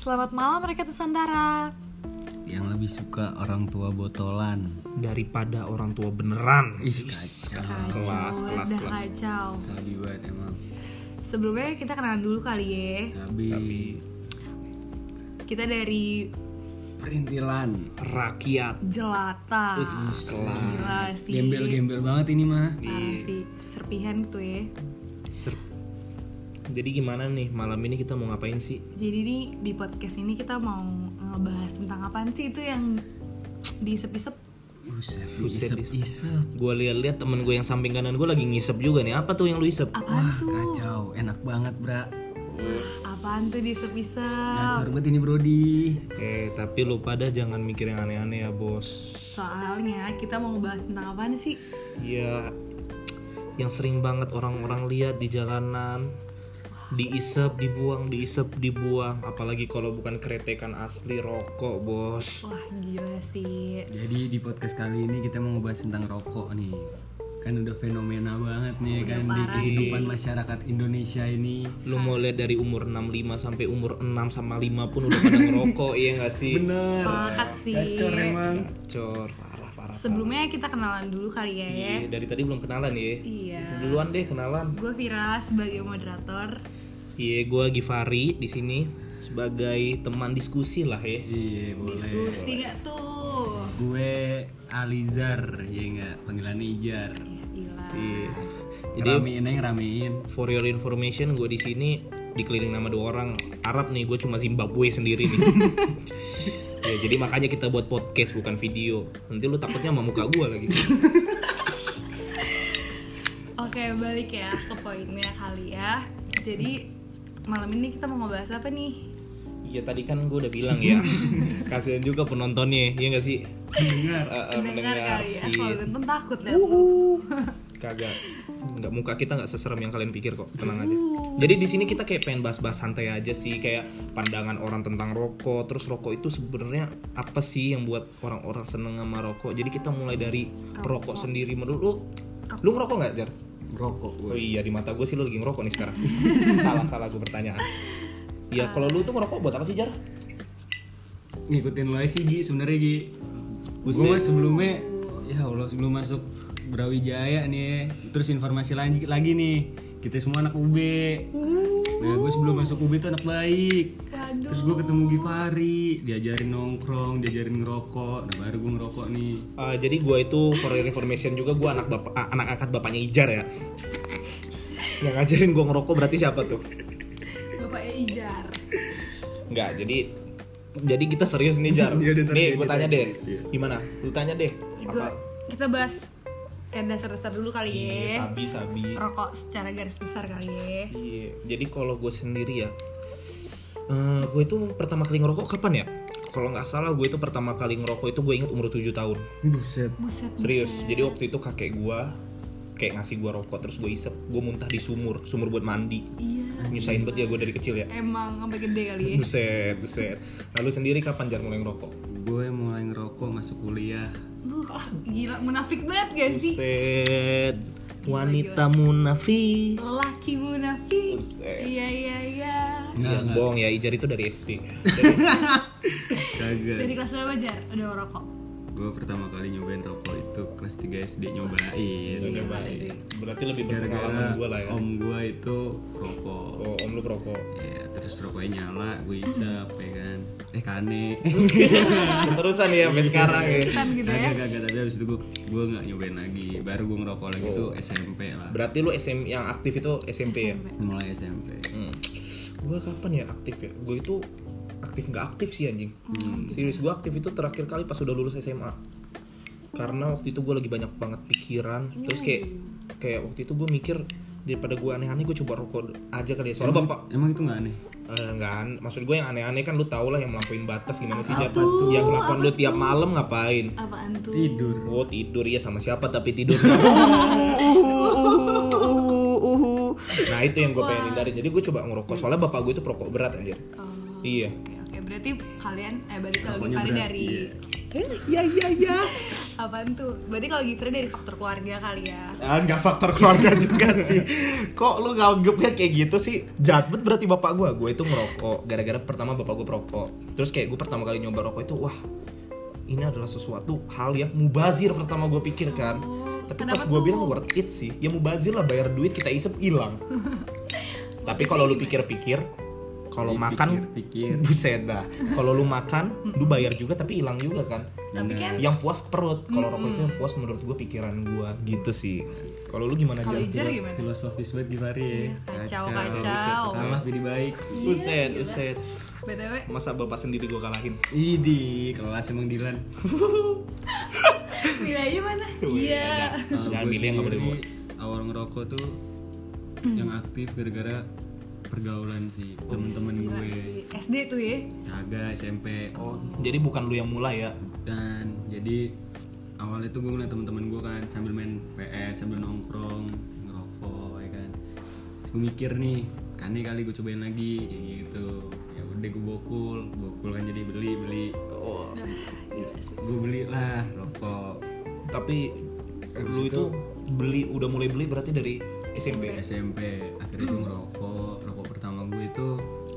Selamat malam mereka Sandara. Yang lebih suka orang tua botolan. daripada orang tua beneran. Ih, kacau. Kelas, kelas, udah kelas. kacau. Sabi banget emang. Sebelumnya kita kenalan dulu kali ya. Sabi. Kita dari Perintilan. Rakyat. Jelata. Us, Gila sih. Gembel-gembel banget ini mah. Parah sih. Serpihan tuh ya. Ser- Jadi gimana nih malam ini kita mau ngapain sih? Jadi ini di podcast ini kita mau ngebahas tentang apaan sih itu yang disep-isep Buset, Buset, isep-isep. Gue lihat-lihat temen gue yang samping kanan gue lagi ngisep juga nih. Apa tuh yang lu isep? apaan tuh? Kacau, enak banget, Bra. Apaan tuh disep-isep? Gacor banget ini, Brodi. Oke, tapi lu pada jangan mikir yang aneh-aneh ya bos. Soalnya kita mau ngebahas tentang apaan sih? Ya, yang sering banget orang-orang lihat di jalanan diisep, dibuang, diisep, dibuang. Apalagi kalau bukan keretekan asli rokok, bos. Wah gila sih. Jadi di podcast kali ini kita mau ngebahas tentang rokok nih. Kan udah fenomena banget nih kan di parah kehidupan masyarakat Indonesia ini. Lu mau lihat dari umur 65 sampai umur 6 sama 5 pun udah pada ngerokok, iya gak sih? Bener. Sepakat sih. Gacor emang. Cor, parah, parah. Sebelumnya kita kenalan dulu kali ya ya. Iya, dari tadi belum kenalan ya. Iya. Duluan deh kenalan. Gue Vira sebagai moderator. Iya, gua Givari di sini sebagai teman diskusi lah ya. Iya, boleh. Diskusi nggak tuh? Gue Alizar, ya enggak, panggilannya Ijar. Ya, gila. Iya. Jadi Ramein aja ramein. for your information gue di sini dikelilingi sama dua orang Arab nih, gue cuma Zimbabwe sendiri nih. ya, jadi makanya kita buat podcast bukan video. Nanti lu takutnya sama muka gue lagi. Oke balik ya ke poinnya kali ya. Jadi malam ini kita mau ngebahas apa nih? Iya tadi kan gue udah bilang ya. Kasihan juga penontonnya, iya gak sih? Eh, Mendengar, Iya, Dengar kali ya. Kalau nonton takut lihat kagak nggak muka kita nggak seserem yang kalian pikir kok tenang aja jadi di sini kita kayak pengen bahas-bahas santai aja sih kayak pandangan orang tentang rokok terus rokok itu sebenarnya apa sih yang buat orang-orang seneng sama rokok jadi kita mulai dari rokok, sendiri menurut lu lu ngerokok nggak jar Rokok gue. oh iya di mata gue sih lu lagi ngerokok nih sekarang salah salah gue pertanyaan Iya, kalau lu tuh ngerokok buat apa sih jar Ngikutin lo aja sih Gi sebenarnya Gi. Gue mah sebelumnya ya Allah sebelum masuk Brawijaya nih terus informasi lagi lagi nih kita semua anak UB nah gue sebelum masuk UB tuh anak baik Waduh. terus gue ketemu Givari diajarin nongkrong diajarin ngerokok nah baru gue ngerokok nih Eh, jadi gue itu for your information juga gue anak bapak ah, anak angkat bapaknya Ijar ya. Yang ngajarin gue ngerokok berarti siapa tuh? Bapaknya Ijar. Enggak, jadi jadi kita serius nih Jar. Iya, udah, ntar nih dia- gue dia tanya tanya. deh. Iya. Gimana? Lu tanya deh. Gua, ya. kita bahas yang dasar-dasar dulu kali Iya, ya. sabi sabi. Rokok secara garis besar kali ya. Iya. Jadi kalau gue sendiri ya, eh gue itu pertama kali ngerokok kapan ya? Kalau nggak salah gue itu pertama kali ngerokok itu gue inget umur 7 tahun. buset Buset. Serius. Jadi waktu itu kakek gue kayak ngasih gue rokok terus gue isep gue muntah di sumur sumur buat mandi Iya. nyusahin banget ya gue dari kecil ya Emang sampai gede kali ya. buset buset lalu sendiri kapan jar mulai ngerokok gue mulai ngerokok masuk kuliah Duh, gila munafik banget gak Iya sih? buset wanita munafik Lelaki munafik. Buset. Iya iya iya. Iya, Enggak, bohong ya Ijar itu dari SD kagak Dari kelas berapa Jar? Udah ngerokok. gue pertama kali nyobain rokok itu kelas 3 SD nyobain Iya, Udah baik. berarti lebih berpengalaman gara-gara gue lah ya om gue itu rokok oh, om lu perokok ya terus rokoknya nyala gue isap ya kan eh kane terusan ya Iya. sampai sekarang ya Kan gitu ya. kagak kagak tapi abis itu gue gue nggak nyobain lagi baru gue ngerokok lagi itu Oh. SMP lah berarti lu SM yang aktif itu SMP ya mulai SMP hmm. gue kapan ya aktif ya gue itu aktif nggak aktif sih anjing serius gue aktif itu terakhir kali pas udah lulus SMA karena waktu itu gue lagi banyak banget pikiran terus kayak kayak waktu itu gue mikir daripada gue aneh-aneh gue coba rokok aja kali ya Hmm. soalnya bapak emang itu nggak aneh Enggak, maksud gue yang aneh-aneh kan lu tau lah yang melampaui batas gimana sih Jar? tuh? Ya kelakuan lu tiap malam ngapain? Apaan tuh? tidur Oh tidur ya sama siapa tapi tidur Nah itu yang gue pengen hindari Jadi gue coba ngerokok Soalnya bapak gue itu perokok berat anjir Oh, Iya Oke, oke. berarti kalian eh berarti kalau Rokoknya Gifari berat, dari iya. Eh, ya ya ya. iya. Apaan tuh? Berarti kalau Gifre dari faktor keluarga kali ya. Ah, nggak faktor keluarga juga sih. Kok lu nganggepnya kayak gitu sih? Jatmet berarti bapak gua. Gue itu merokok. Gara-gara pertama bapak gue perokok. Terus kayak gue pertama kali nyoba rokok itu, wah ini adalah sesuatu hal yang mubazir pertama gue pikirkan. Tapi Oh, kenapa pas gue tuh? bilang worth it sih. Ya mubazir lah bayar duit kita isep hilang. Tapi kalau lu pikir-pikir, kalau makan pikir, Buset dah. Kalau lu makan, lu bayar juga tapi hilang juga kan. Tapi Nah, kan Yang puas perut. Kalau rokok itu yang puas menurut gue pikiran gue gitu sih. Kalau lu gimana kalau Ijar Jam? gimana? Iya, filosofis banget Gifari ya Kacau, kacau. Buset, buset. salah jadi baik Iya, Buset, gila. buset. BTW, Masa bapak sendiri gue kalahin? Idi, kelas emang Dilan nilainya mana? Iya. Kalau Jangan Nah, gua milih yang nggak boleh sendiri, Awal ngerokok tuh Hmm. yang aktif gara-gara pergaulan sih Oh, Gila temen-temen gue sih. SD tuh ya. Kagak SMP Oh, jadi bukan lu yang mulai ya? dan jadi awalnya tuh gue ngeliat temen-temen gue kan sambil main PS sambil nongkrong ngerokok ya kan Terus gue mikir nih kan nih kali gue cobain lagi kayak gitu ya udah gue bokul bokul kan jadi beli beli Oh. Udah, gila sih. gue beli lah rokok Tapi lu itu beli udah mulai beli berarti dari SMP. SMP akhirnya Hmm. gue ngerokok rokok pertama gue itu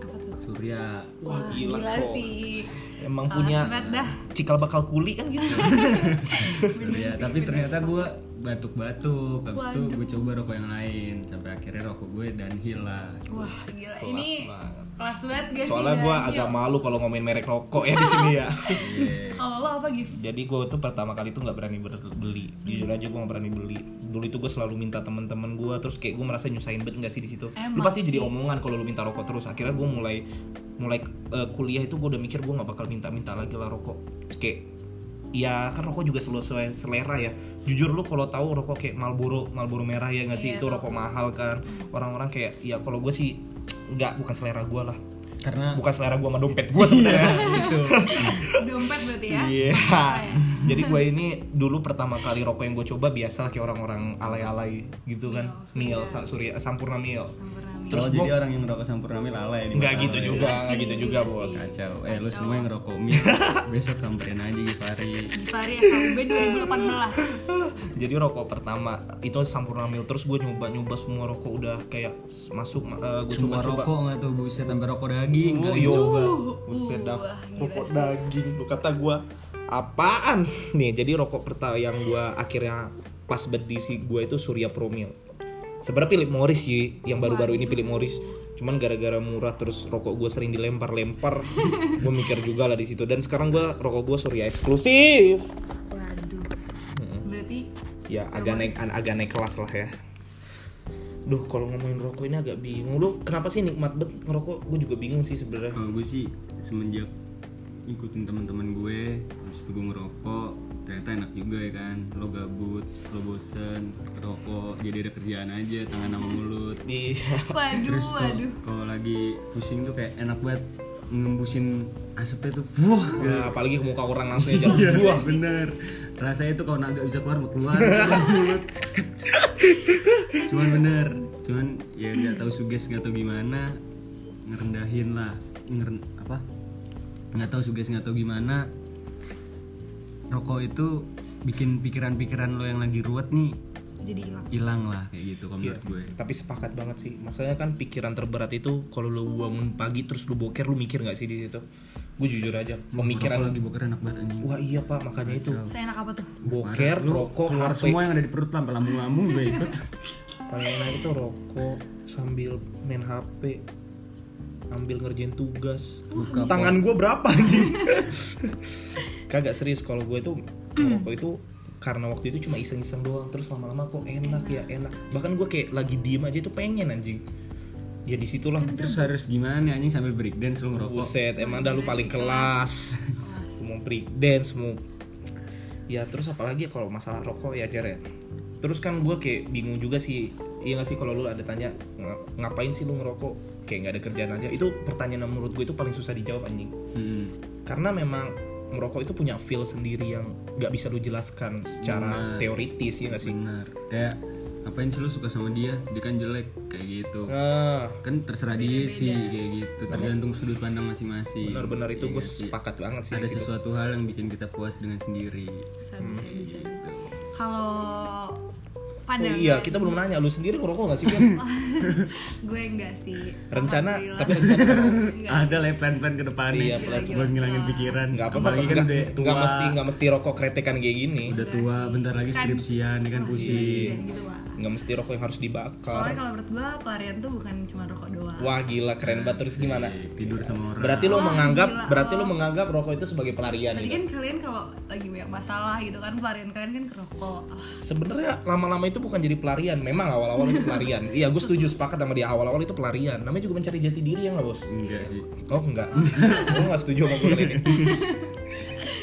Apa tuh? Surya Wah, gila, kok. sih. Emang Alas punya banget Iya dah. cikal bakal kuli kan gitu. Surya sih, Iya, Iya, bener. tapi ternyata gue batuk-batuk habis itu Waduh. gue coba rokok yang lain sampai akhirnya rokok gue dan hilang Wah, gila. Kelas Ini banget. kelas banget guys. Soalnya gue agak malu kalau ngomongin merek rokok ya di sini ya. Kalau lo apa Gif? jadi gue tuh pertama kali tuh nggak berani ber- beli jujur aja gue nggak berani beli dulu itu gue selalu minta teman-teman gue terus kayak gue merasa nyusahin banget nggak sih di situ lu Emang pasti sih. jadi omongan kalau lu minta rokok terus akhirnya gue mulai mulai eh, kuliah itu gue udah mikir gue nggak bakal minta-minta lagi lah rokok Terus kayak ya kan rokok juga sesuai selera ya jujur lu kalau tahu rokok kayak Marlboro Marlboro merah ya nggak sih Iya, itu rokok mahal kan orang-orang kayak ya kalau gue sih nggak bukan selera gue lah karena bukan selera gue sama Iya, dompet gue sebenarnya Iya. gitu. Dompet berarti ya? Iya. Apa ya? Jadi gue ini dulu pertama kali rokok yang gue coba biasa lah kayak orang-orang alay-alay gitu kan. Mil, Mil, sa- surya, sampurna mil. Sampurna. terus Terus jadi gua- orang yang ngerokok sampurna mil alay di Nggak mata gitu lo ya. juga, Iya nggak sih, gitu juga iya bos. sih. kacau eh lu semua yang ngerokok mil besok samperin aja Gifari Gifari FKUB 2018. Jadi rokok pertama itu sampurna mil. Terus gue nyoba-nyoba semua rokok udah kayak masuk. gue semua coba-coba. rokok nggak tuh buset sampai rokok daging Oh, Gua kali yo. coba ya, Buset dah, Wah, iya. Uh, gila rokok sih. daging. Lu kata gue apaan? Nih jadi rokok pertama yang gue akhirnya pas berdisi gue itu surya promil. Sebenarnya Philip Morris sih yang baru-baru ini Philip Morris. Cuman gara-gara murah terus rokok gue sering dilempar-lempar. gue mikir juga lah di situ. Dan sekarang gue rokok gue surya eksklusif. Hmm, Waduh. Berarti Ya agak naik an- agak naik kelas lah ya. Duh, kalau ngomongin rokok ini agak bingung. Lu kenapa sih nikmat bet ngerokok? Gue juga bingung sih sebenarnya. kalau gue sih semenjak ngikutin teman-teman gue habis itu gue ngerokok ternyata enak juga ya kan lo gabut lo bosen rokok jadi ada kerjaan aja tangan sama mulut Di waduh, terus kalau- waduh. kalau lagi pusing tuh kayak enak banget ngembusin asapnya tuh wah gitu. Nah, apalagi ke muka orang langsung ya, aja. Wah, wah bener rasanya tuh kalau nggak bisa keluar mau keluar dari mulut cuman bener cuman ya nggak tahu suges nggak tahu gimana ngerendahin lah ngeren apa nggak tahu suges nggak tahu gimana rokok itu bikin pikiran-pikiran lo yang lagi ruwet nih Jadi hilang. hilang lah kayak gitu kalau Iya. menurut gue Tapi sepakat banget sih. Masalahnya kan pikiran terberat itu kalau lu bangun pagi terus lu boker lu mikir nggak sih di situ? Gue jujur aja, Rokok pemikiran lagi boker enak banget anjing Wah iya pak, makanya itu Saya enak apa tuh? boker, Parah. Lu rokok, ya? keluar HP. semua yang ada di perut lah sampai lambung-lambung gue ikut Paling enak itu rokok sambil main HP, ambil ngerjain tugas. Buka Tangan gue berapa anjing? Kagak serius kalau gue itu ngerokok itu karena waktu itu cuma iseng-iseng doang terus lama-lama kok enak ya enak bahkan gue kayak lagi diem aja itu pengen anjing ya disitulah terus harus gimana anjing sambil breakdance lu ngerokok Buset, emang dah lu paling kelas. Lu mau break dance, mau Ya terus apalagi kalau masalah rokok ya Jer ya. Terus kan gue kayak bingung juga sih Iya gak sih kalau lu ada tanya "Nga- Ngapain sih lu ngerokok? Kayak nggak ada kerjaan aja Itu pertanyaan yang menurut gue itu paling susah dijawab anjing Hmm. Karena memang merokok itu punya feel sendiri yang nggak bisa lu jelaskan secara Benar. teoritis ya gak sih? Bener. Kayak apain sih lu suka sama dia dia kan jelek kayak gitu Nah, kan terserah dia sih kayak gitu tergantung sudut pandang masing-masing benar-benar itu Iya gue gak sih? sepakat banget sih. ada di situ. sesuatu hal yang bikin kita puas dengan sendiri bisa bisa bisa gitu kalau Oh pandangan iya, kita belum nanya. Lu sendiri ngerokok gak sih? Pin? gue enggak sih Rencana, Alhamdulillah. tapi rencana ngerokok. Enggak ada lah plan-plan ke depannya Iya, plan-plan. buat ngilangin pikiran Gak apa-apa, apalagi kan nggak- udah tua nggak mesti, nggak mesti rokok kretekan kayak gini. udah tua bentar lagi Kan- skripsian ini kan Wah, pusing dan gitu lah Nggak mesti rokok yang harus dibakar. soalnya kan- kalau menurut gue pelarian tuh bukan cuma rokok doang Wah gila, keren banget. Terus gimana? Iya, tidur sama orang Berarti lo Wah, menganggap, gila, berarti lo lo. menganggap rokok itu sebagai pelarian Tadi gitu. kan kalian kalau lagi banyak masalah gitu kan pelarian kalian kan ke rokok. Sebenarnya lama-lama itu bukan jadi pelarian. Memang awal-awal itu pelarian. Iya, gue setuju sepakat sama dia awal-awal itu pelarian. Namanya juga mencari jati diri ya nggak bos? enggak sih Oh enggak, gue nggak setuju sama gue kali ini.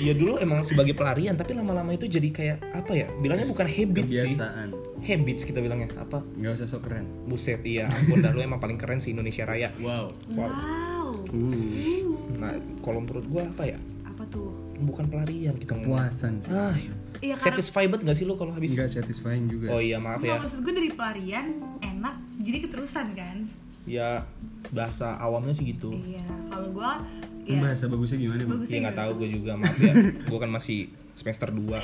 Ya dulu emang sebagai pelarian, tapi lama-lama itu jadi kayak apa ya? Bilangnya bukan habit sih, kebiasaan habits kita bilangnya apa? nggak usah sok keren Buset iya, ampun dah lu emang paling keren sih Indonesia Raya. wow Wow. Wow. uh, Nah, kalau menurut gue apa ya? Apa tuh? Bukan pelarian kita ngomong. puasan sih Ah, Iya karena satisfied banget gak sih lu kalau habis? enggak satisfying juga Oh iya maaf Enggak, ya. maksud gue dari pelarian enak jadi keterusan kan. Ya bahasa awamnya sih gitu. Iya, kalau gue Kan ya bahasa bagusnya gimana bang? bagus Ya sih. nggak gitu. tahu gue juga maaf ya. gue kan masih semester 2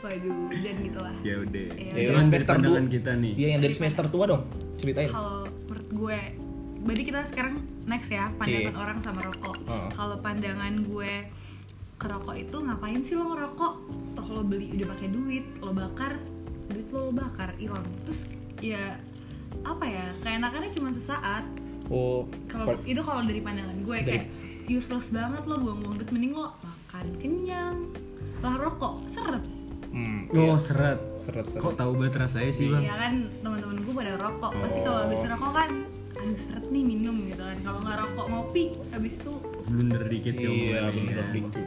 Waduh, jangan gitu lah. Iya. ya udah Ya itu kan udah. dari Semester pandangan dua. kita nih Iya yang dari semester tua dong. Ceritain. Kalau menurut gue berarti kita sekarang next ya pandangan Iya. orang sama rokok. Oh. Kalau pandangan gue ke rokok itu ngapain sih lo ngerokok? Toh lo beli udah pakai duit, lo bakar, duit lo, lo bakar hilang. Terus ya apa ya? Keenakannya cuma sesaat. Oh, Kalau kol- itu kalau dari pandangan gue Dari- kayak useless banget lo buang-buang duit mending lo makan kenyang lah rokok seret hmm, oh iya. seret seret kok seret. tahu banget rasanya sih bang ya kan teman-teman gue pada rokok pasti Oh. kalau habis rokok kan aduh seret nih minum gitu kan kalau nggak rokok ngopi habis itu blunder dikit sih Iya, omongannya, bener kan? dikit.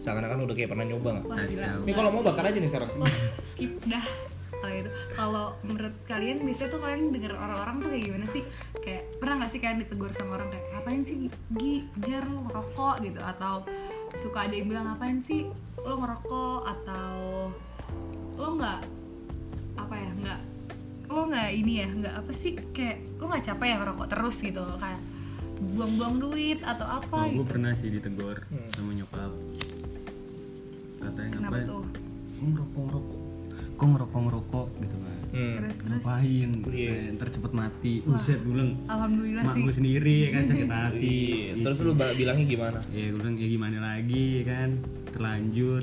Seakan-akan udah kayak pernah nyoba nggak? wah gila Kacau. Ini kalau mau bakar aja nih sekarang. wah Oh, skip dah kalau itu kalau menurut kalian biasanya tuh kalian denger orang-orang tuh kayak gimana sih kayak pernah nggak sih kalian ditegur sama orang kayak apain sih gi jar lo ngerokok gitu atau suka ada yang bilang apain sih lo ngerokok atau lo nggak apa ya nggak lo nggak ini ya nggak apa sih kayak lo nggak capek ya ngerokok terus gitu kayak buang-buang duit atau apa Oh, gue gitu pernah sih ditegur Hmm. sama nyokap katanya kenapa ngapain tuh ngerokok ngerokok kok ngerokok ngerokok gitu kan Hmm. terus terus ngapain Iya. Eh, ntar cepet mati uset gue bilang alhamdulillah mak sih gue sendiri ya kan sakit hati Iya, Terus lu ba- bilangnya gimana? ya gue bilang ya gimana lagi ya kan terlanjur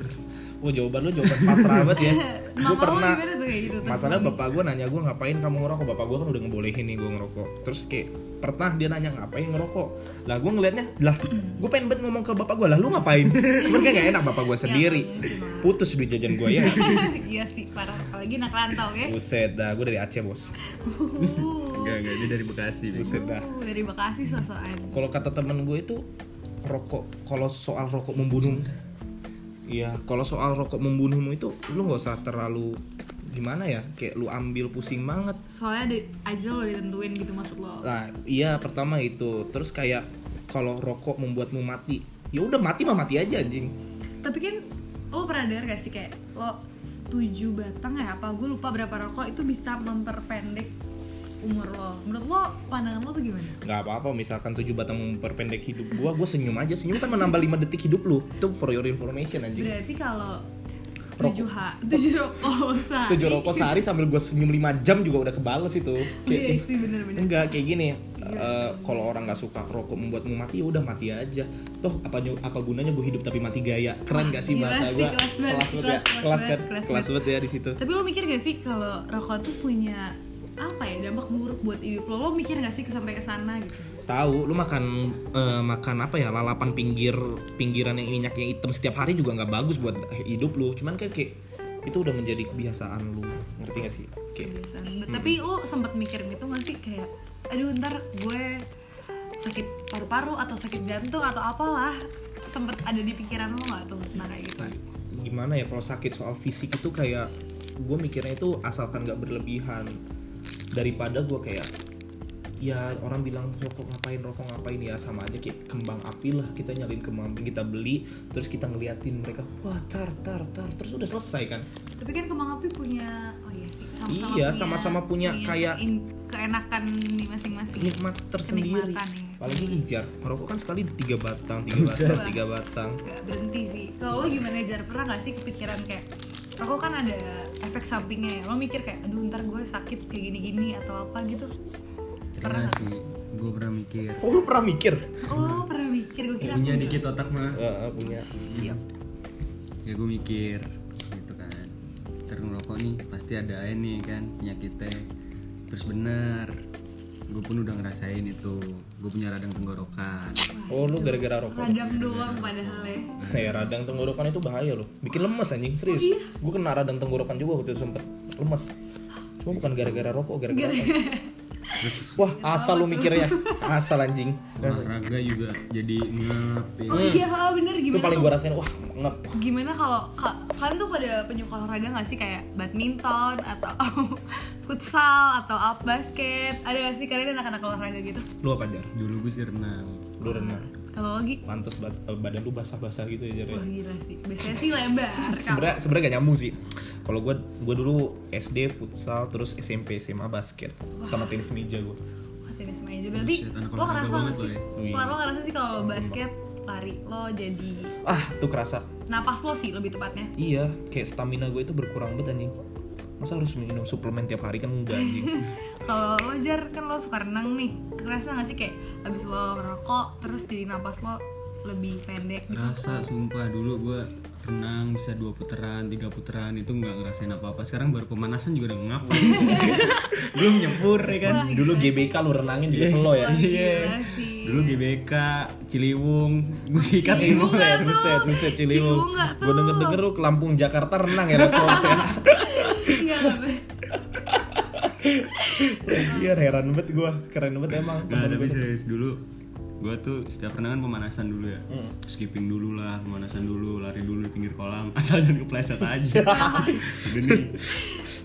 Oh jawaban lu jawaban pasrah banget ya. Mama Gue lo pernah gimana tuh kayak gitu? Masalah Tegur. bapak gue nanya gue ngapain kamu ngerokok Bapak gue kan udah ngebolehin nih gue ngerokok Terus kayak pernah dia nanya ngapain ngerokok Lah gue ngeliatnya Lah gue pengen banget ngomong ke bapak gue Lah lu ngapain Cuman kayak gak enak bapak gue sendiri Ya, Putus duit jajan gue ya Iya sih, parah. Apalagi anak rantau ya. Buset dah gue dari Aceh bos Uh, enggak dia dari Bekasi Buset dah uh, dari Bekasi sosokan. Kalau kata temen gue itu Rokok Kalau soal rokok membunuh Iya kalau soal rokok membunuhmu itu Lu gak usah terlalu Gimana ya Kayak lu ambil pusing banget Soalnya ada aja lo ditentuin gitu maksud lo. Nah, iya pertama itu. Terus kayak kalau rokok membuatmu mati, ya udah mati mah mati aja anjing. Tapi kan lo pernah dengar gak sih kayak lo tujuh batang ya apa gue lupa berapa rokok itu bisa memperpendek umur lo. Menurut lo pandangan lo tuh gimana? Gak apa-apa, misalkan tujuh batang memperpendek hidup gua, gua senyum aja. Senyum kan menambah 5 detik hidup lu. Itu for your information anjing. Berarti kalau Rokok. tujuh h tujuh rokok sehari. Tujuh rokok sehari sambil gua senyum 5 jam juga udah kebales itu. Iya Kayak, sih bener-bener. enggak kayak gini. eh, kalau orang nggak suka rokok membuatmu mati, ya udah mati aja. Toh apa apa gunanya gua hidup tapi mati gaya? Keren gak sih Gila bahasa sih, gua? kelas banget, ya. kelas, Kelas kelas kan? banget, kelas Kelas banget ya di situ. Tapi lo mikir gak sih kalau rokok tuh punya apa ya dampak buruk buat hidup lo? Lo mikir gak sih ke- sampai ke sana gitu? Tahu, lu makan eh, makan apa ya? Lalapan pinggir pinggiran yang minyaknya hitam setiap hari juga nggak bagus buat hidup lu. Cuman kan kayak itu udah menjadi kebiasaan lu. Ngerti gak sih? Kayak Kebiasaan. Hmm. Tapi lo sempet mikir gitu gak sih kayak aduh ntar gue sakit paru-paru atau sakit jantung atau apalah sempet ada di pikiran lo gak tuh tentang kayak gitu? nah, gimana ya kalau sakit soal fisik itu kayak gue mikirnya itu asalkan nggak berlebihan daripada gue kayak ya orang bilang rokok ngapain rokok ngapain ya sama aja kayak kembang api lah kita nyalin kembang api kita beli terus kita ngeliatin mereka wah tar tar tar terus udah selesai kan tapi kan kembang api punya oh iya sih sama-sama Iya, punya- sama-sama punya kayak- Iya, in- keenakan di masing-masing nikmat tersendiri Kenikmatan, ya. apalagi ngijar ngerokok kan sekali tiga batang tiga batang tiga batang gak berhenti sih kalau lo gimana jar pernah gak sih kepikiran kayak rokok kan ada efek sampingnya ya lo mikir kayak aduh ntar gue sakit kayak gini-gini atau apa gitu pernah pernah nggak? sih gue pernah mikir oh lu pernah mikir oh pernah mikir gue kira punya enggak. dikit otak mah Eh, punya siap ya gue mikir gitu kan terus ngerokok nih pasti ada aja nih kan penyakitnya terus bener gue pun udah ngerasain itu gue punya radang tenggorokan oh lu gara-gara rokok radang doang padahal ya Nah ya radang tenggorokan itu bahaya loh Bikin lemes anjing, Oh, serius iya. Gue kena radang tenggorokan juga waktu itu sempet Lemes Cuma bukan gara-gara rokok, Gitu gara-gara ya. apa. Wah asal lu mikirnya Asal anjing Nah, olahraga juga jadi ngap ya. oh iya oh, bener Itu gimana paling tuh? gue rasain, wah ngep gimana kalau ka- kalian tuh pada penyuka olahraga nggak sih kayak badminton atau futsal atau up basket ada nggak sih kalian anak-anak olahraga gitu Lu apa Jar? dulu gue sih renang Lu renang kalau lagi Pantes bat- badan lu basah-basah gitu ya Jar ya? wah gila sih biasanya sih lebar kalau sebenarnya sebenarnya gak nyambung sih kalau gue gue dulu SD futsal terus SMP SMA basket sama tenis meja gue Wah, tenis meja berarti Buset, anak lo olahraga ngerasa nggak banget sih lo ya. kalau lo ngerasa sih kalau lo basket lari lo jadi ah tuh kerasa napas lo sih lebih tepatnya iya kayak stamina gue itu berkurang banget anjing masa harus minum suplemen tiap hari kan enggak anjing kalau lo jar kan lo suka renang nih kerasa nggak sih kayak abis lo ngerokok terus jadi napas lo lebih pendek gitu rasa sumpah dulu gue renang bisa dua putaran tiga putaran itu nggak ngerasain apa apa sekarang baru pemanasan juga udah ngap belum nyempur ya kan Wah, iya dulu GBK lu renangin juga selo ya Wah, gila sih dulu GBK Ciliwung gue sikat Ciliwung. semua Iya, Buset, tuh. buset, buset, Ciliwung. Ciliwung nggak Gue tuh. denger-denger lu ke Lampung, Jakarta renang ya, Rat Solat ya. Iya, nggak be- Iya, heran banget gue, keren banget emang. Nah, temen tapi gua. serius dulu gue tuh setiap renang kan pemanasan dulu ya Hmm. skipping dulu lah pemanasan dulu lari dulu di pinggir kolam asal jangan kepleset aja udah nih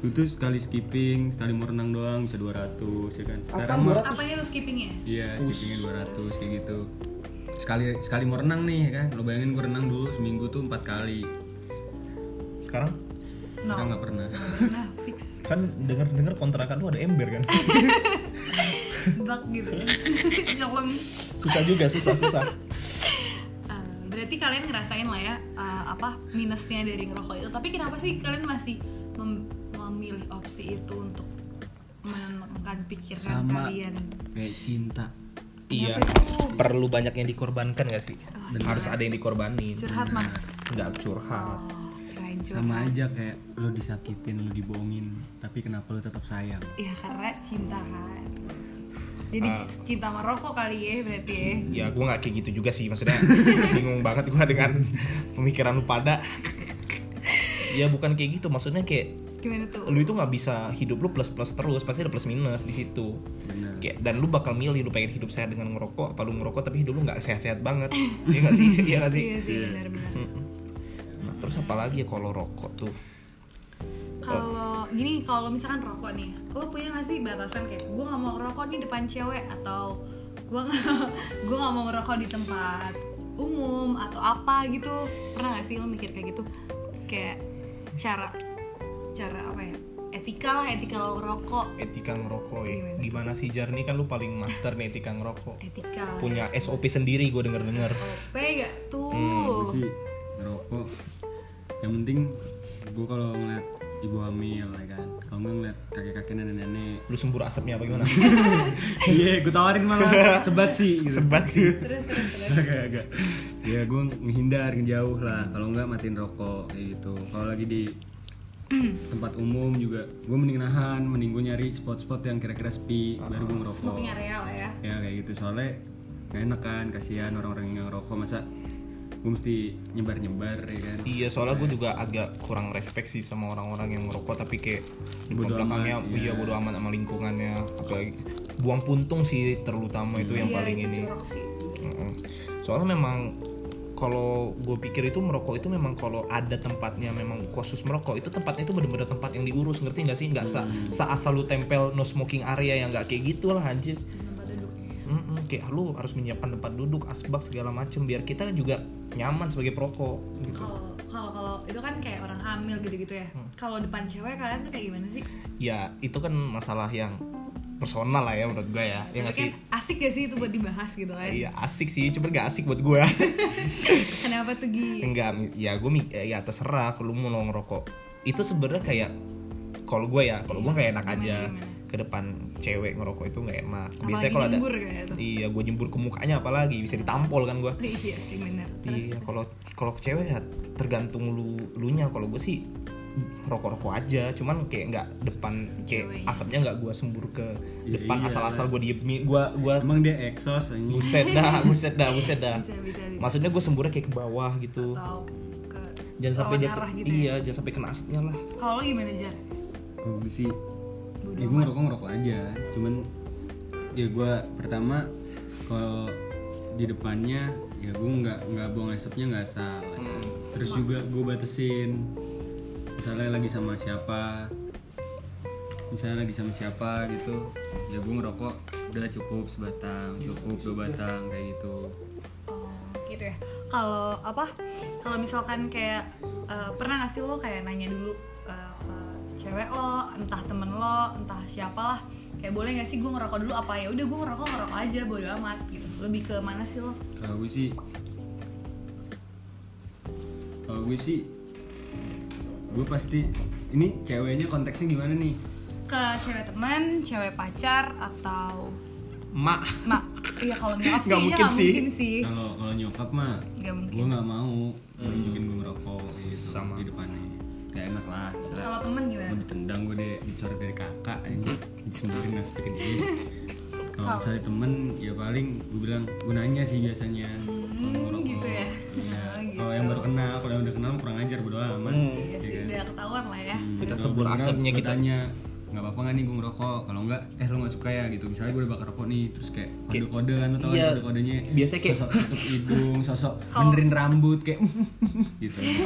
Dulu tuh sekali skipping sekali mau renang doang bisa 200 ya kan sekarang mah apanya lo skippingnya iya skippingnya 200 kayak gitu sekali sekali mau renang nih ya kan lo bayangin gue renang dulu seminggu tuh empat kali Sekarang no sekarang nggak pernah nah fix kan denger-denger kontrakan lu ada ember kan? bug gitu nyelam Susah juga, susah-susah. Eh, berarti kalian ngerasain lah ya eh, apa minusnya dari ngerokok itu tapi kenapa sih kalian masih mem- memilih opsi itu untuk menenangkan pikiran Sama. kalian kayak cinta Iya. Kenapa itu? Perlu banyak yang dikorbankan gak sih? Harus ada yang dikorbanin. curhat mas Nggak curhat. oh, keren curhat sama aja kayak lo disakitin lo dibohongin tapi kenapa lo tetap sayang ya karena cinta kan jadi c- cinta sama rokok kali ya berarti ya Ya gue gak kayak gitu juga sih, maksudnya bingung banget gue dengan pemikiran lu pada. Ya bukan kayak gitu, maksudnya kayak gimana tuh lu itu nggak bisa hidup lu plus plus terus pasti ada plus minus di situ bener Kayak- dan lu bakal milih lu pengen hidup sehat dengan ngerokok apa lu ngerokok tapi hidup lu nggak sehat-sehat banget iya nggak sih iya nggak sih iya sih benar-benar nah, terus apalagi ya kalau rokok tuh kalau gini kalau misalkan rokok nih lo punya nggak sih batasan kayak gue nggak mau ngerokok nih depan cewek atau gue nggak gue nggak mau ngerokok di tempat umum atau apa gitu pernah nggak sih lo mikir kayak gitu kayak cara cara apa ya etika lah etika lo ngerokok etika ngerokok ya Gimana? gimana sih Jar nih kan lu paling master nih etika ngerokok etika lah. punya SOP sendiri gue denger dengar OP gak tuh Hmm, Gue sih ngerokok yang penting gue kalau ngeliat ibu hamil ya kan kalau nggak ngeliat kakek-kakek nenek-nenek lu sembur asapnya apa gimana iya gue tawarin malah sebat sih gitu. sebat sih terus terus terus agak agak ya gue menghindar ngejauh lah kalau nggak matiin rokok kayak gitu kalau lagi di tempat umum juga gue mending nahan mending gue nyari spot-spot yang kira-kira sepi baru gue ngerokok smoking areal ya ya kayak gitu soalnya nggak enak kan kasihan orang-orang yang nggak ngerokok masa gue mesti nyebar-nyebar ya kan Iya soalnya gue juga agak kurang respect sih sama orang-orang yang merokok tapi kayak di Bodo belakangnya amat, iya iya. bodo amat sama lingkungannya apalagi buang puntung sih terutama itu yang Iya, paling itu ini. jorok sih. Mm-mm. Soalnya memang kalau gue pikir itu merokok itu memang kalau ada tempatnya memang khusus merokok itu tempatnya itu bener-bener Hmm. tempat yang diurus ngerti nggak sih nggak sa- seasal lu tempel no smoking area yang nggak kayak gitu lah anjir kayak "Ah, lu harus menyiapkan tempat duduk asbak segala macem biar kita juga nyaman sebagai perokok gitu Kalau kalau kalau itu kan kayak orang hamil gitu-gitu ya. Hmm. Kalau depan cewek kalian tuh kayak gimana sih? ya itu kan masalah yang personal lah ya menurut gue ya ya nggak Tapi kan sih asik gak sih itu buat dibahas gitu kan? Iya asik sih, cuma gak asik buat gue Kenapa tuh Gi? Enggak, ya gue ya terserah kalau lu mau ngerokok Itu sebenarnya kayak, kalau gue ya, kalau gue kayak enak Gimana, aja gimana? Ke depan cewek ngerokok itu gak enak Apalagi Biasanya kalau ada nyembur kayak gitu. itu. Iya, gue nyembur ke mukanya apalagi, bisa ditampol kan gue Iya sih bener. Terus- Iya, kalau kalau ke cewek ya tergantung lu lunya. Kalau gue sih rokok-rokok aja, cuman kayak nggak depan kayak Cewek. asapnya nggak gue sembur ke Ya depan iyalah. asal-asal gue diemin, gue gue Emang dia eksos anjing. buset dah, buset dah, buset dah. bisa bisa bisa. Maksudnya gue semburnya kayak ke bawah gitu. Atau ke Jangan sampai lawan dia arah gitu iya, ya. jangan sampai kena asapnya lah. Kalau lo gimana Jar? Gue sih Bodo ya gue amat. ngerokok ngerokok aja cuman ya gue pertama kalau di depannya ya gue nggak nggak buang asapnya nggak salah terus juga gue batasin misalnya lagi sama siapa misalnya lagi sama siapa gitu ya gue ngerokok udah cukup sebatang cukup dua batang kayak gitu Oh, gitu ya. Kalau apa? Kalau misalkan kayak eh, pernah nggak sih lo kayak nanya dulu eh, ke cewek lo, entah temen lo, entah siapalah, kayak boleh nggak sih gue ngerokok dulu apa ya? Udah gue ngerokok ngerokok aja, bodo amat gitu. Lebih ke mana sih lo? kalau Eh, gue sih kalau eh, gue sih gue pasti ini ceweknya konteksnya gimana nih Ke cewek temen, cewek pacar atau Mak, mak? Iya kalau nyokap sih Nggak iya, mungkin nggak sih. mungkin sih. kalau kalau nyokap mah Nggak mungkin. gue nggak mau nunjukin gue ngerokok gitu Sama. di depannya gak enak lah gila. Kalau temen mau gimana? ditendang gue deh dicoret dari kakak ini disemburin nasi bikin ini kalau misalnya temen ya paling gue bilang gue nanya sih biasanya kalau Hmm, ngerokok. gitu ya. iya. Oh, gitu. kalau yang baru kenal kalau yang udah kenal kurang ajar bodo amat Ya kan? Iya sih, udah ketahuan lah ya. Hmm, Kita kalau sebut belum kenal, asapnya gua kita. tanya nggak apa-apa nggak nih gue ngerokok kalau nggak eh lo nggak suka ya gitu misalnya gue udah bakar rokok nih terus kayak kode kode kan lo tau Iya. kode kodenya Biasanya kayak- sosok tutup hidung sosok Kalau- benerin rambut kayak gitu itu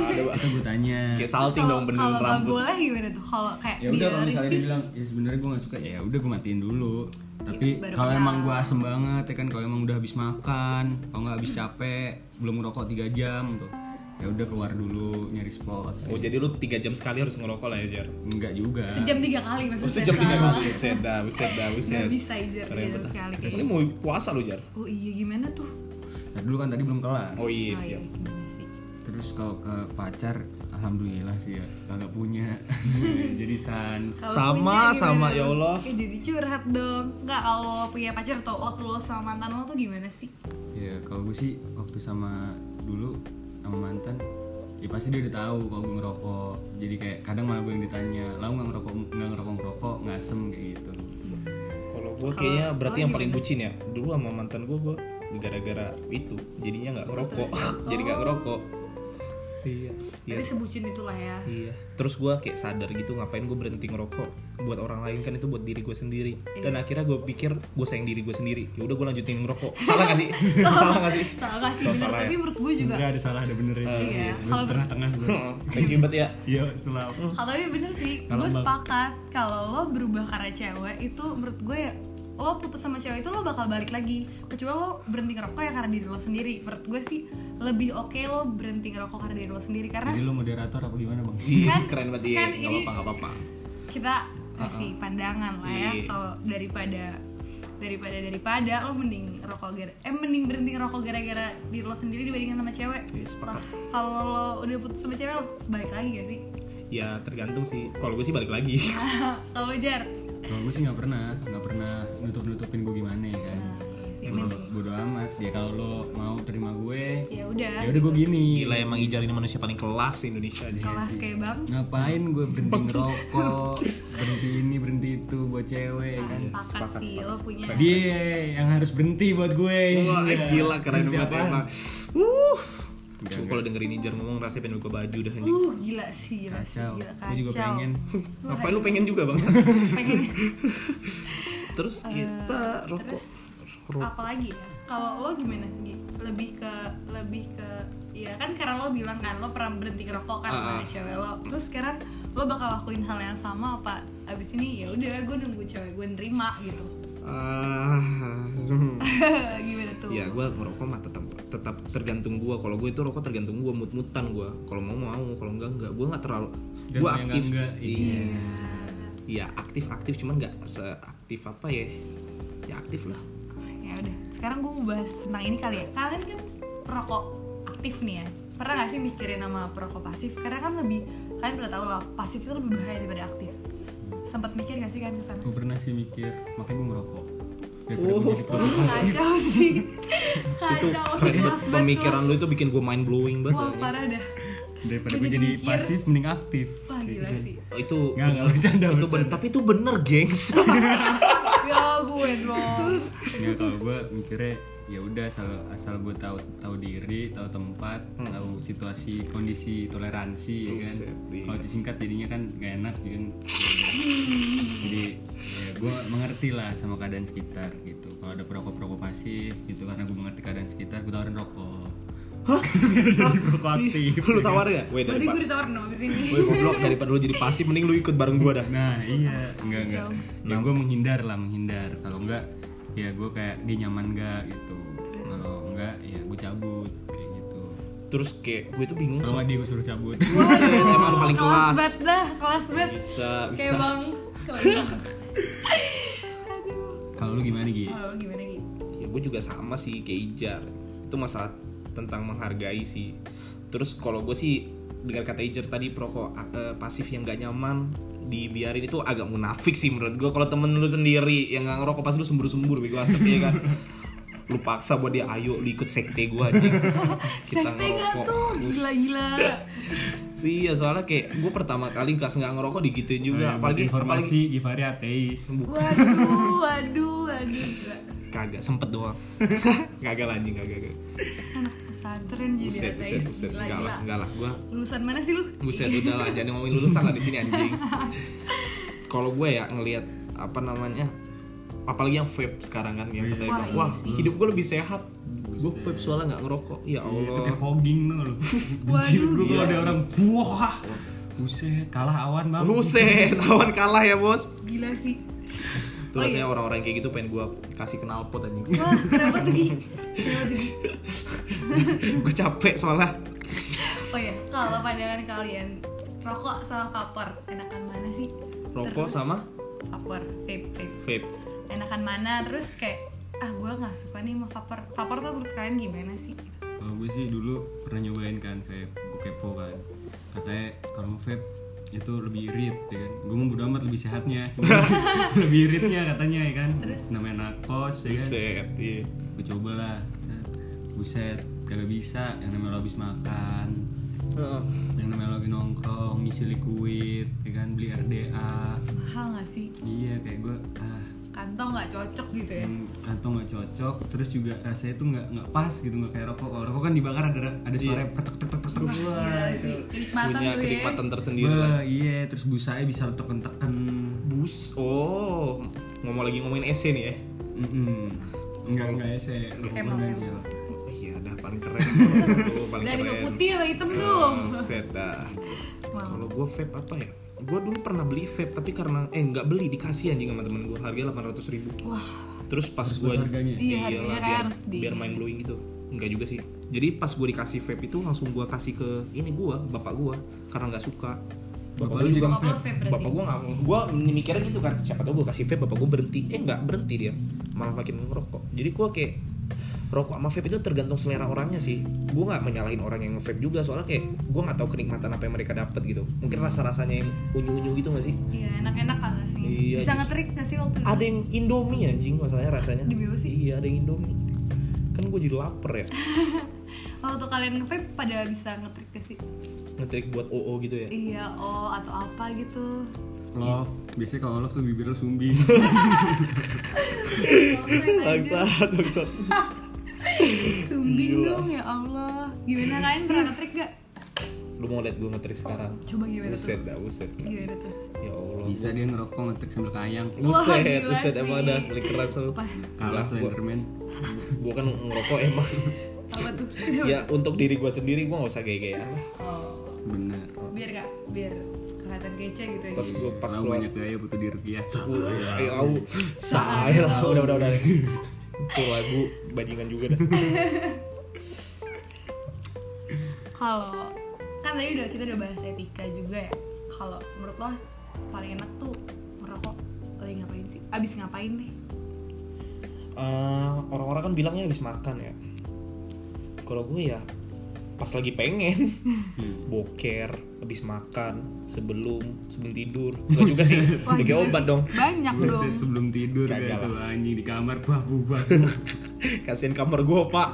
gue tanya kayak Terus salting kalau- dong beneran Kalau nggak rambut. boleh gimana tuh? Kalau kayak ya udah kalau dia misalnya risih, dia bilang ya sebenarnya gue nggak suka ya udah gue matiin dulu tapi Gitu, baru kalau kenal. emang gue asem banget ya kan kalau emang udah habis makan kalau nggak habis capek belum ngerokok tiga jam tuh ya udah keluar dulu nyari spot Oh jadi lu 3 jam sekali harus ngerokok lah ya Jar enggak juga sejam tiga kali Oh maksudnya. sejam tiga Salah. kali Buset dah, buset dah, buset Gak bisa Ijar Keren gitu banget. sekali kayak Ini mau puasa lu Jar Oh iya gimana tuh? Ntar dulu kan tadi belum kelar Oh iya Oh, iya, siap gimana sih? Terus kalau ke pacar, alhamdulillah sih ya, kagak punya. Jadi sans. Kalau Sama, punya gimana sama, tuh? ya Allah. Eh, jadi curhat dong. Enggak kalau punya pacar atau waktu lo sama mantan lo tuh gimana sih? Ya kalau gue sih waktu sama dulu sama mantan, ya pasti dia udah tahu kalau gue ngerokok. Jadi kayak kadang malah gue yang ditanya, lah nggak ngerokok nggak ngerokok ngerokok ngasem kayak gitu. Kalau gue kayaknya Kalau- berarti kalau yang paling gimana? bucin ya Dulu sama mantan gue, gue gara-gara itu Jadinya gak ngerokok Putus. Oh. Jadi gak ngerokok Iya Iya Tapi sebucin itulah ya. Iya. Terus gue kayak sadar gitu ngapain gue berhenti ngerokok buat orang lain kan itu buat diri gue sendiri. Iya. Dan akhirnya gue pikir gue sayang diri gue sendiri. Ya udah gue lanjutin ngerokok. Salah gak sih? Salah gak sih? Salah gak sih Salah- bener, salah tapi ya. menurut gue juga ada salah ada bener ya. Iya, kalau ber- tengah gue. Thank you banget ya. Iya, selalu. Kalau Oh, tapi bener sih, Kalau gue Mbak- sepakat kalau lo berubah karena cewek itu menurut gue ya lo putus sama cewek itu lo bakal balik lagi kecuali lo berhenti ngerokok ya karena diri lo sendiri menurut gue sih lebih oke lo berhenti ngerokok karena diri lo sendiri karena Jadi lu moderator apa gimana bang? Ih, Kan- keren banget ya. kan Gak ini- apa-apa, gak apa-apa. Ah, kita kasih pandangan lah ya Iya. kalau daripada daripada daripada lo mending rokok gara eh mending berhenti ngerokok gara-gara diri lo sendiri dibandingkan sama cewek Iya, sepakat. lah kalau lo udah putus sama cewek lo balik lagi gak sih Ya tergantung sih. Kalau gue sih balik lagi. Iya. kalau lo jar Kalau gue sih nggak pernah, nggak pernah nutup nutupin gue gimana ya kan. Nah, iya sih, Bodo, mending. bodo amat. Ya kalau lo mau terima gue, ya udah ya udah gue gini. Gila emang Ijar ini manusia paling kelas di Indonesia aja. kelas kayak bang ngapain gue berhenti ngerokok berhenti ini berhenti itu buat cewek ya kan sepakat, sih lo punya dia yang harus berhenti buat gue Iya. Wah, gila keren Berhenti banget ya, apaan? Pak. Uh. Cuma kalau dengerin Ijar ngomong rasanya pengen buka baju dah anjing. uh gila sih gila sih Kacau. gila kacau Gue juga pengen. Ngapain lu pengen juga, Bang? pengen Terus kita rokok. Eh, terus apalagi ya kalau lo gimana Gi? lebih ke lebih ke ya kan karena lo bilang kan lo pernah berhenti ngerokok kan Ah, sama ah. cewek lo terus sekarang lo bakal lakuin hal yang sama apa abis ini ya udah gue nunggu cewek gue nerima gitu Ah, gimana tuh ya gue ngerokok mah tetap tetap tergantung gue. Kalau gue itu rokok tergantung gue mut-mutan gue. Kalau mau mau, kalau enggak enggak. Gue nggak terlalu. Dan Gue yang aktif. enggak-enggak, Iya. Iya aktif aktif cuman nggak seaktif apa ya. Ya aktif lah. ya udah sekarang gue mau bahas tentang ini kali ya kalian kan perokok aktif nih ya pernah gak sih mikirin nama perokok pasif karena kan lebih kalian udah tahu lah pasif itu lebih bahaya daripada aktif sempat mikir gak sih kan kalian kesana gue pernah sih mikir makanya gue ngerokok daripada gue Oh. jadi Ih, perokok kacau sih itu kacau sih keren banget. kelas banget, pemikiran lu kelas. itu bikin gue mind blowing banget. wah anjing. parah dah daripada Gua gue jadi jadi mikir. pasif mending aktif wah gila sih Oh, itu Nggak, nggak, bercanda, itu ben- bercanda. tapi itu bener gengs ya gue dong ya kalau gue mikirnya ya udah asal asal gue tahu tahu diri tahu tempat tahu situasi kondisi toleransi ya kan Hmm. Buset, iya. kalau disingkat jadinya kan gak enak ya kan jadi ya gue mengerti lah sama keadaan sekitar gitu kalau ada perokok perokok pasif gitu karena gue mengerti keadaan sekitar gue tawarin rokok biar jadi perokok aktif lu tawar gak? Iya, Weh, berarti gue daripada, ditawarin dong abis ini weh, goblok daripada lu jadi pasif mending lu ikut bareng gue dah nah iya enggak enggak Jauh. ya gue menghindar lah menghindar kalau enggak ya gue kayak dia nyaman enggak gitu kalau enggak ya gue cabut kayak gitu terus kayak gue tuh bingung kalau sama enggak dia gue suruh cabut Waduh, Emang paling kelas kelas. bet dah kelas bet bisa bisa kayak bang kelas kalau lu gimana Gi? Kalau lu gimana gitu? ya gue juga sama sih kayak Ijar itu masalah tentang menghargai sih terus kalau gue sih dengar kata Ijar tadi perokok eh, pasif yang gak nyaman dibiarin itu agak munafik sih menurut gue kalau temen lu sendiri yang gak ngerokok pas lu sembur-sembur bego asap ya kan lu paksa buat dia ayo lu ikut sekte gue aja kita Sekte gak ngerokok tuh? Gila-gila sih ya soalnya kayak gue pertama kali kas nggak ngerokok digituin Nah, juga apalagi apalagi informasi Givari ateis Waduh, waduh, waduh gila. kagak sempet doang kagak lah, anjing kagak kagak Anak pesantren jadi buset ateis. buset buset Gila, Iya. enggak gila. lah enggak lah gue Lulusan mana sih lu? Buset udah lah jangan ngomongin lulusan lah di sini anjing. Kalau gue ya ngelihat apa namanya apalagi yang vape sekarang kan yang katanya Wah, bilang, iya wah sih. hidup gue lebih sehat. Gue vape soalnya nggak ngerokok. Ya Iya, itu kayak Allah. fogging tuh lu benci Waduh, gue kalau gila. ada orang buah buset kalah awan bang Buset, lawan kalah ya bos. Gila sih Itu Oh, rasanya iya. orang-orang kayak gitu pengen gue kasih knalpot anjing. Wah, kenapa tuh Gi? Kenapa tuh Gi? gue capek soalnya. Oh ya, kalau pandangan kalian Rokok sama vapor, enakan mana sih? Rokok Terus, sama Vapor, vape, vape vape. Enakan mana? Terus kayak ah gue nggak suka nih sama vapor vapor tuh menurut kalian gimana sih kalau gue sih dulu pernah nyobain kan vape gue kepo kan katanya kalau mau vape itu lebih irit ya kan gue mau bodo amat lebih sehatnya Cuma lebih iritnya katanya ya kan Terus? namanya narkos ya kan Buset, iya. gue coba lah buset kagak bisa yang namanya lo habis makan Heeh. yang namanya lo lagi nongkrong ngisi liquid ya kan beli RDA mahal nggak sih iya kayak gue ah kantong nggak cocok gitu ya yang kantong nggak cocok terus juga rasanya tuh nggak nggak pas gitu nggak kayak rokok kalau rokok kan dibakar ada ada suara yang pertek tek tek tek tek. Wah, gila sih kenikmatan Punya tuh ya kenikmatan tersendiri. lah. Wah, iya terus busanya bisa tekan tekan Bus. Oh, ngomong lagi ngomongin SC nih ya. nggak nggak ya saya rokok Emang, nggak emang. dia. Iya, dah paling keren. Tuh, paling dari keren. putih atau hitam tuh Eh, Buset dah. Wow. Kalau gue vape apa ya? Gue dulu pernah beli vape tapi karena eh nggak beli dikasih anjing sama temen gue harga 800 ribu. wah Terus pas terus gue buat harganya Iya, harganya kayak biar, harus di- biar mind blowing gitu. Enggak juga sih. Jadi pas gue dikasih vape itu langsung gue kasih ke ini gue, bapak gue karena nggak suka. Bapak Bapak lu gue juga jadi Bapak lu vape berarti? Bapak gue nggak, gue mikirnya gitu kan. Siapa tau gue kasih vape, bapak gue berhenti. Eh nggak berhenti dia, malah makin ngerokok. Jadi gue kayak rokok sama vape itu tergantung selera orangnya sih. Gue nggak menyalahin orang yang nge-vape juga soalnya kayak gue nggak tahu kenikmatan apa yang mereka dapat gitu. Mungkin rasa-rasanya yang unyu-unyu gitu nggak sih? iya enak-enak kan rasanya Iya, bisa justru. ngetrik nggak sih waktu itu Ada yang Indomie anjing masalahnya rasanya. Demi apa sih? Iya ada yang Indomie. Kan gue jadi lapar ya. waktu kalian nge-vape pada bisa ngetrik gak sih ngetrik buat OO gitu ya iya oh atau apa gitu love biasanya kalau love tuh bibir lo sumbing Langsung bangsat bangsat sumbing Gila. dong ya Allah gimana kalian pernah ngetrik gak lu mau liat gue ngetrik sekarang coba gimana buset tuh Iya. dah buset dah. gimana tuh ya allah bisa dia ngerokok ngetik sambil kayang Wah, buset gila buset sih. emang dah paling keras lu apa kalah Lah, gua, Slenderman gua kan ngerokok emang apa tuh ya untuk diri gue sendiri gue nggak usah gaya-gayaan lah Oh, bener biar gak biar kalian kelihatan kece gitu ya. Pas gua pas Orang keluar. banyak gaya butuh di rupiah. Ayo au. Saya lah udah udah udah. Itu lagu bajingan juga dah. Kalau kan tadi udah kita udah bahas etika juga ya. Kalau menurut lo paling enak tuh ngerokok lagi ngapain sih? Abis ngapain nih? Eh, orang-orang kan bilangnya habis makan ya. Kalau gue ya pas lagi pengen boker habis makan sebelum sebelum tidur nggak juga sih Wah, udah gila kayak obat sih. dong Banyak dong. Buset, sebelum tidur Kagak kayak itu lah. anjing di kamar babu-babu. kasihan kamar gue pak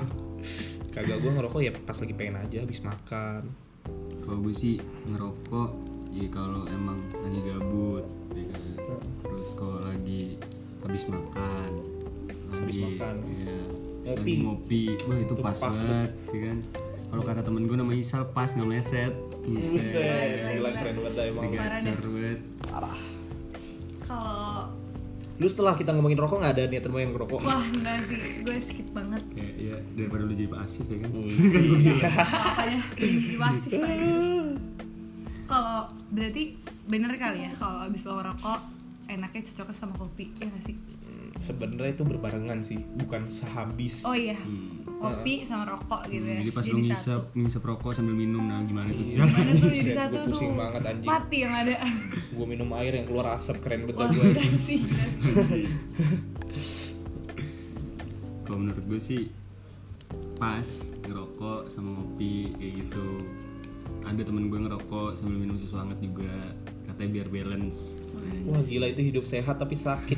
kagak gue ngerokok ya pas lagi pengen aja habis makan kalau gue sih ngerokok ya kalau emang lagi gabut ya kan terus kalau lagi habis makan Habis lagi- makan. iya Ngopi. ngopi ngopi wah itu, Itu pas, pas tuh. banget ya kan kalau kata temen gue namanya Isal pas nggak meleset Gila, gila gila. keren banget dah emang Parah Digacar banget Kalau lu setelah kita ngomongin rokok nggak ada niatan mau yang ngerokok wah enggak sih, gue skip banget. kayak ya daripada lu jadi Pak Asif ya kan Apanya jadi wasif tadi. Kalau berarti bener kali ya kalau abis lo ngerokok enaknya cocoknya sama kopi ya nggak sih? sebenarnya itu berbarengan sih bukan sehabis Oh iya, Hmm. kopi sama rokok gitu ya. jadi pas lu jadi satu. ngisep ngisep rokok sambil minum nah gimana tuh Cal? Iya. Gimana tuh jadi Gitu. Buset, satu gua pusing tuh? banget, anjing. Pati yang ada. gue minum air yang keluar asap keren Wah, betul gue udah sih, udah sih. kalau menurut gue sih pas ngerokok sama ngopi kayak gitu ada temen gue ngerokok sambil minum susu hangat juga katanya biar balance Hmm. wah gila itu hidup sehat tapi sakit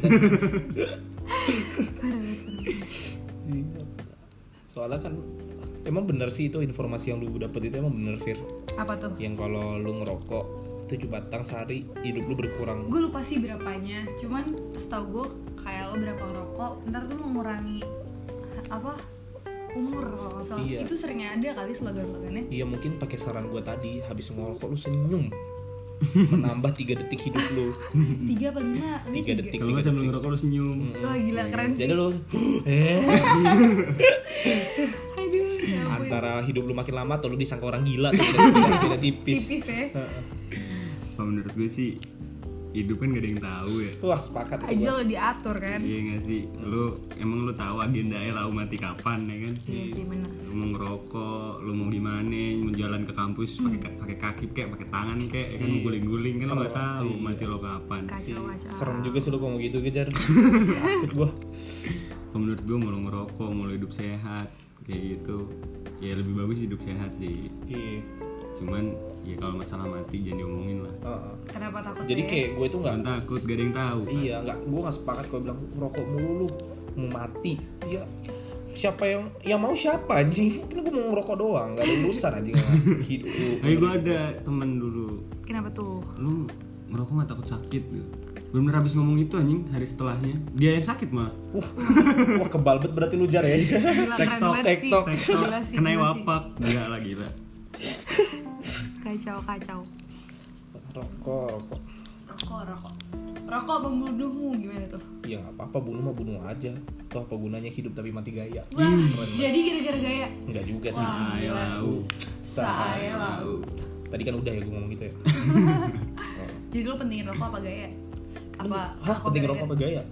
Iya. soalnya kan emang bener sih itu informasi yang lu dapet itu emang bener Fir Apa tuh? yang kalau lu ngerokok 7 batang sehari hidup lu berkurang Gue lupa sih berapanya, cuman setahu gue kayak lo berapa ngerokok, ntar tuh mengurangi apa umur kalau nggak salah. Iya. Itu seringnya ada kali slogan-slogannya. Iya mungkin pakai saran gue tadi habis ngerokok lu senyum menambah tiga detik hidup lu Tiga apa lima? Ini Hmm. Tiga detik. Iya, kalau nggak sambil ngerokok lu senyum Wah gila keren sih. jadi lu eh Aduh, ya ampun. antara hidup lu makin lama atau lu disangka orang gila tuh, beda- beda tipis tipis ya. kalau menurut gue sih hidup kan gak ada yang tahu ya wah sepakat tuh Aja gua. lo diatur kan. iya nggak sih lu emang lu tahu agendanya lau mati kapan ya kan Iya sih benar. lu mau ngerokok lu mau gimana mau jalan ke kampus pakai Hmm. ka- pakai kaki kayak pakai tangan kayak ya kan Iya. mau guling-guling kan lu nggak tahu mati lo kapan Kacau kacau. Iya. serem juga sih lu ngomong gitu kejar gue Kalau menurut gue mau lo ngerokok, mau lo hidup sehat kayak gitu ya lebih bagus hidup sehat sih iya cuman ya kalau masalah mati jangan diomongin lah Heeh. Kenapa takut? jadi ya? kayak gue tuh nggak jangan takut gak ada yang tahu kan. Iya, nggak, gue nggak sepakat kalau bilang rokok mulu lu mau mati. Iya, siapa yang yang mau siapa anjing? Kan gue mau ngerokok doang, nggak ada urusan anjing sama hidup lu. tapi gue ada temen dulu Kenapa tuh? lu ngerokok gak takut sakit gitu bener habis ngomong itu anjing hari setelahnya dia yang sakit mah Wah, wah kebal bet berarti lu jar ya. Iya, Gila keren Tektok, banget sih. tektok, Oh, Gila sih. kena gila sih. wapak gila lah gila Kacau kacau. Rokok, rokok. Rokok rokok. Rokok membunuhmu gimana tuh? Ya nggak apa-apa, bunuh mah bunuh aja. Tuh apa gunanya hidup tapi mati gaya? Wah, jadi gara-gara gaya. Enggak juga sih. Wah, saya gila. Ah, ya lau Saya lau. Tadi kan udah ya gue ngomong gitu ya. Jadi lo pentingin rokok apa gaya? Apa? Hah, penting gara-gara- rokok apa gaya?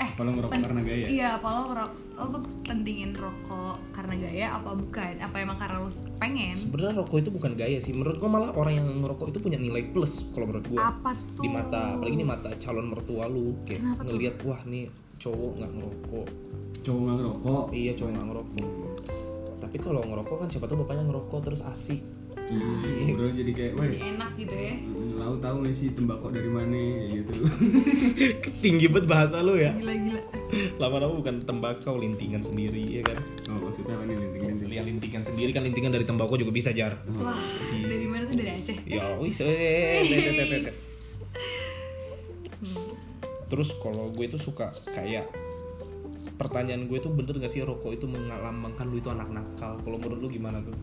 Eh, Apa lo ngerokok pen- karena gaya? Iya, apa lo, ngerok- lo tuh pentingin rokok karena gaya apa bukan? Apa emang karena lo pengen? Sebenarnya rokok itu bukan gaya sih. Menurut gue malah orang yang ngerokok itu punya nilai plus kalau menurut gue. Apa tuh? di mata apalagi di mata calon mertua lu kayak Kenapa tuh? ngelihat wah nih cowok nggak ngerokok cowok gak ngerokok iya cowok nggak ngerokok tapi kalau ngerokok kan siapa tahu bapaknya ngerokok terus asik iya ngobrol jadi kayak weh Jadi enak gitu ya. lau tahu gak sih tembakau dari mana kayak gitu tinggi banget bahasa lu ya Gila-gila. lama-lama bukan tembakau lintingan sendiri ya kan oh maksudnya apa nih linting-linting ya lintingan sendiri kan lintingan dari tembakau juga bisa jar Wah, dari mana tuh dari Aceh? ya wis eh, eh, eh, eh, eh, eh. terus kalau gue itu suka kayak pertanyaan gue tuh bener gak sih rokok itu mengalambangkan lu itu anak nakal kalau menurut lu gimana tuh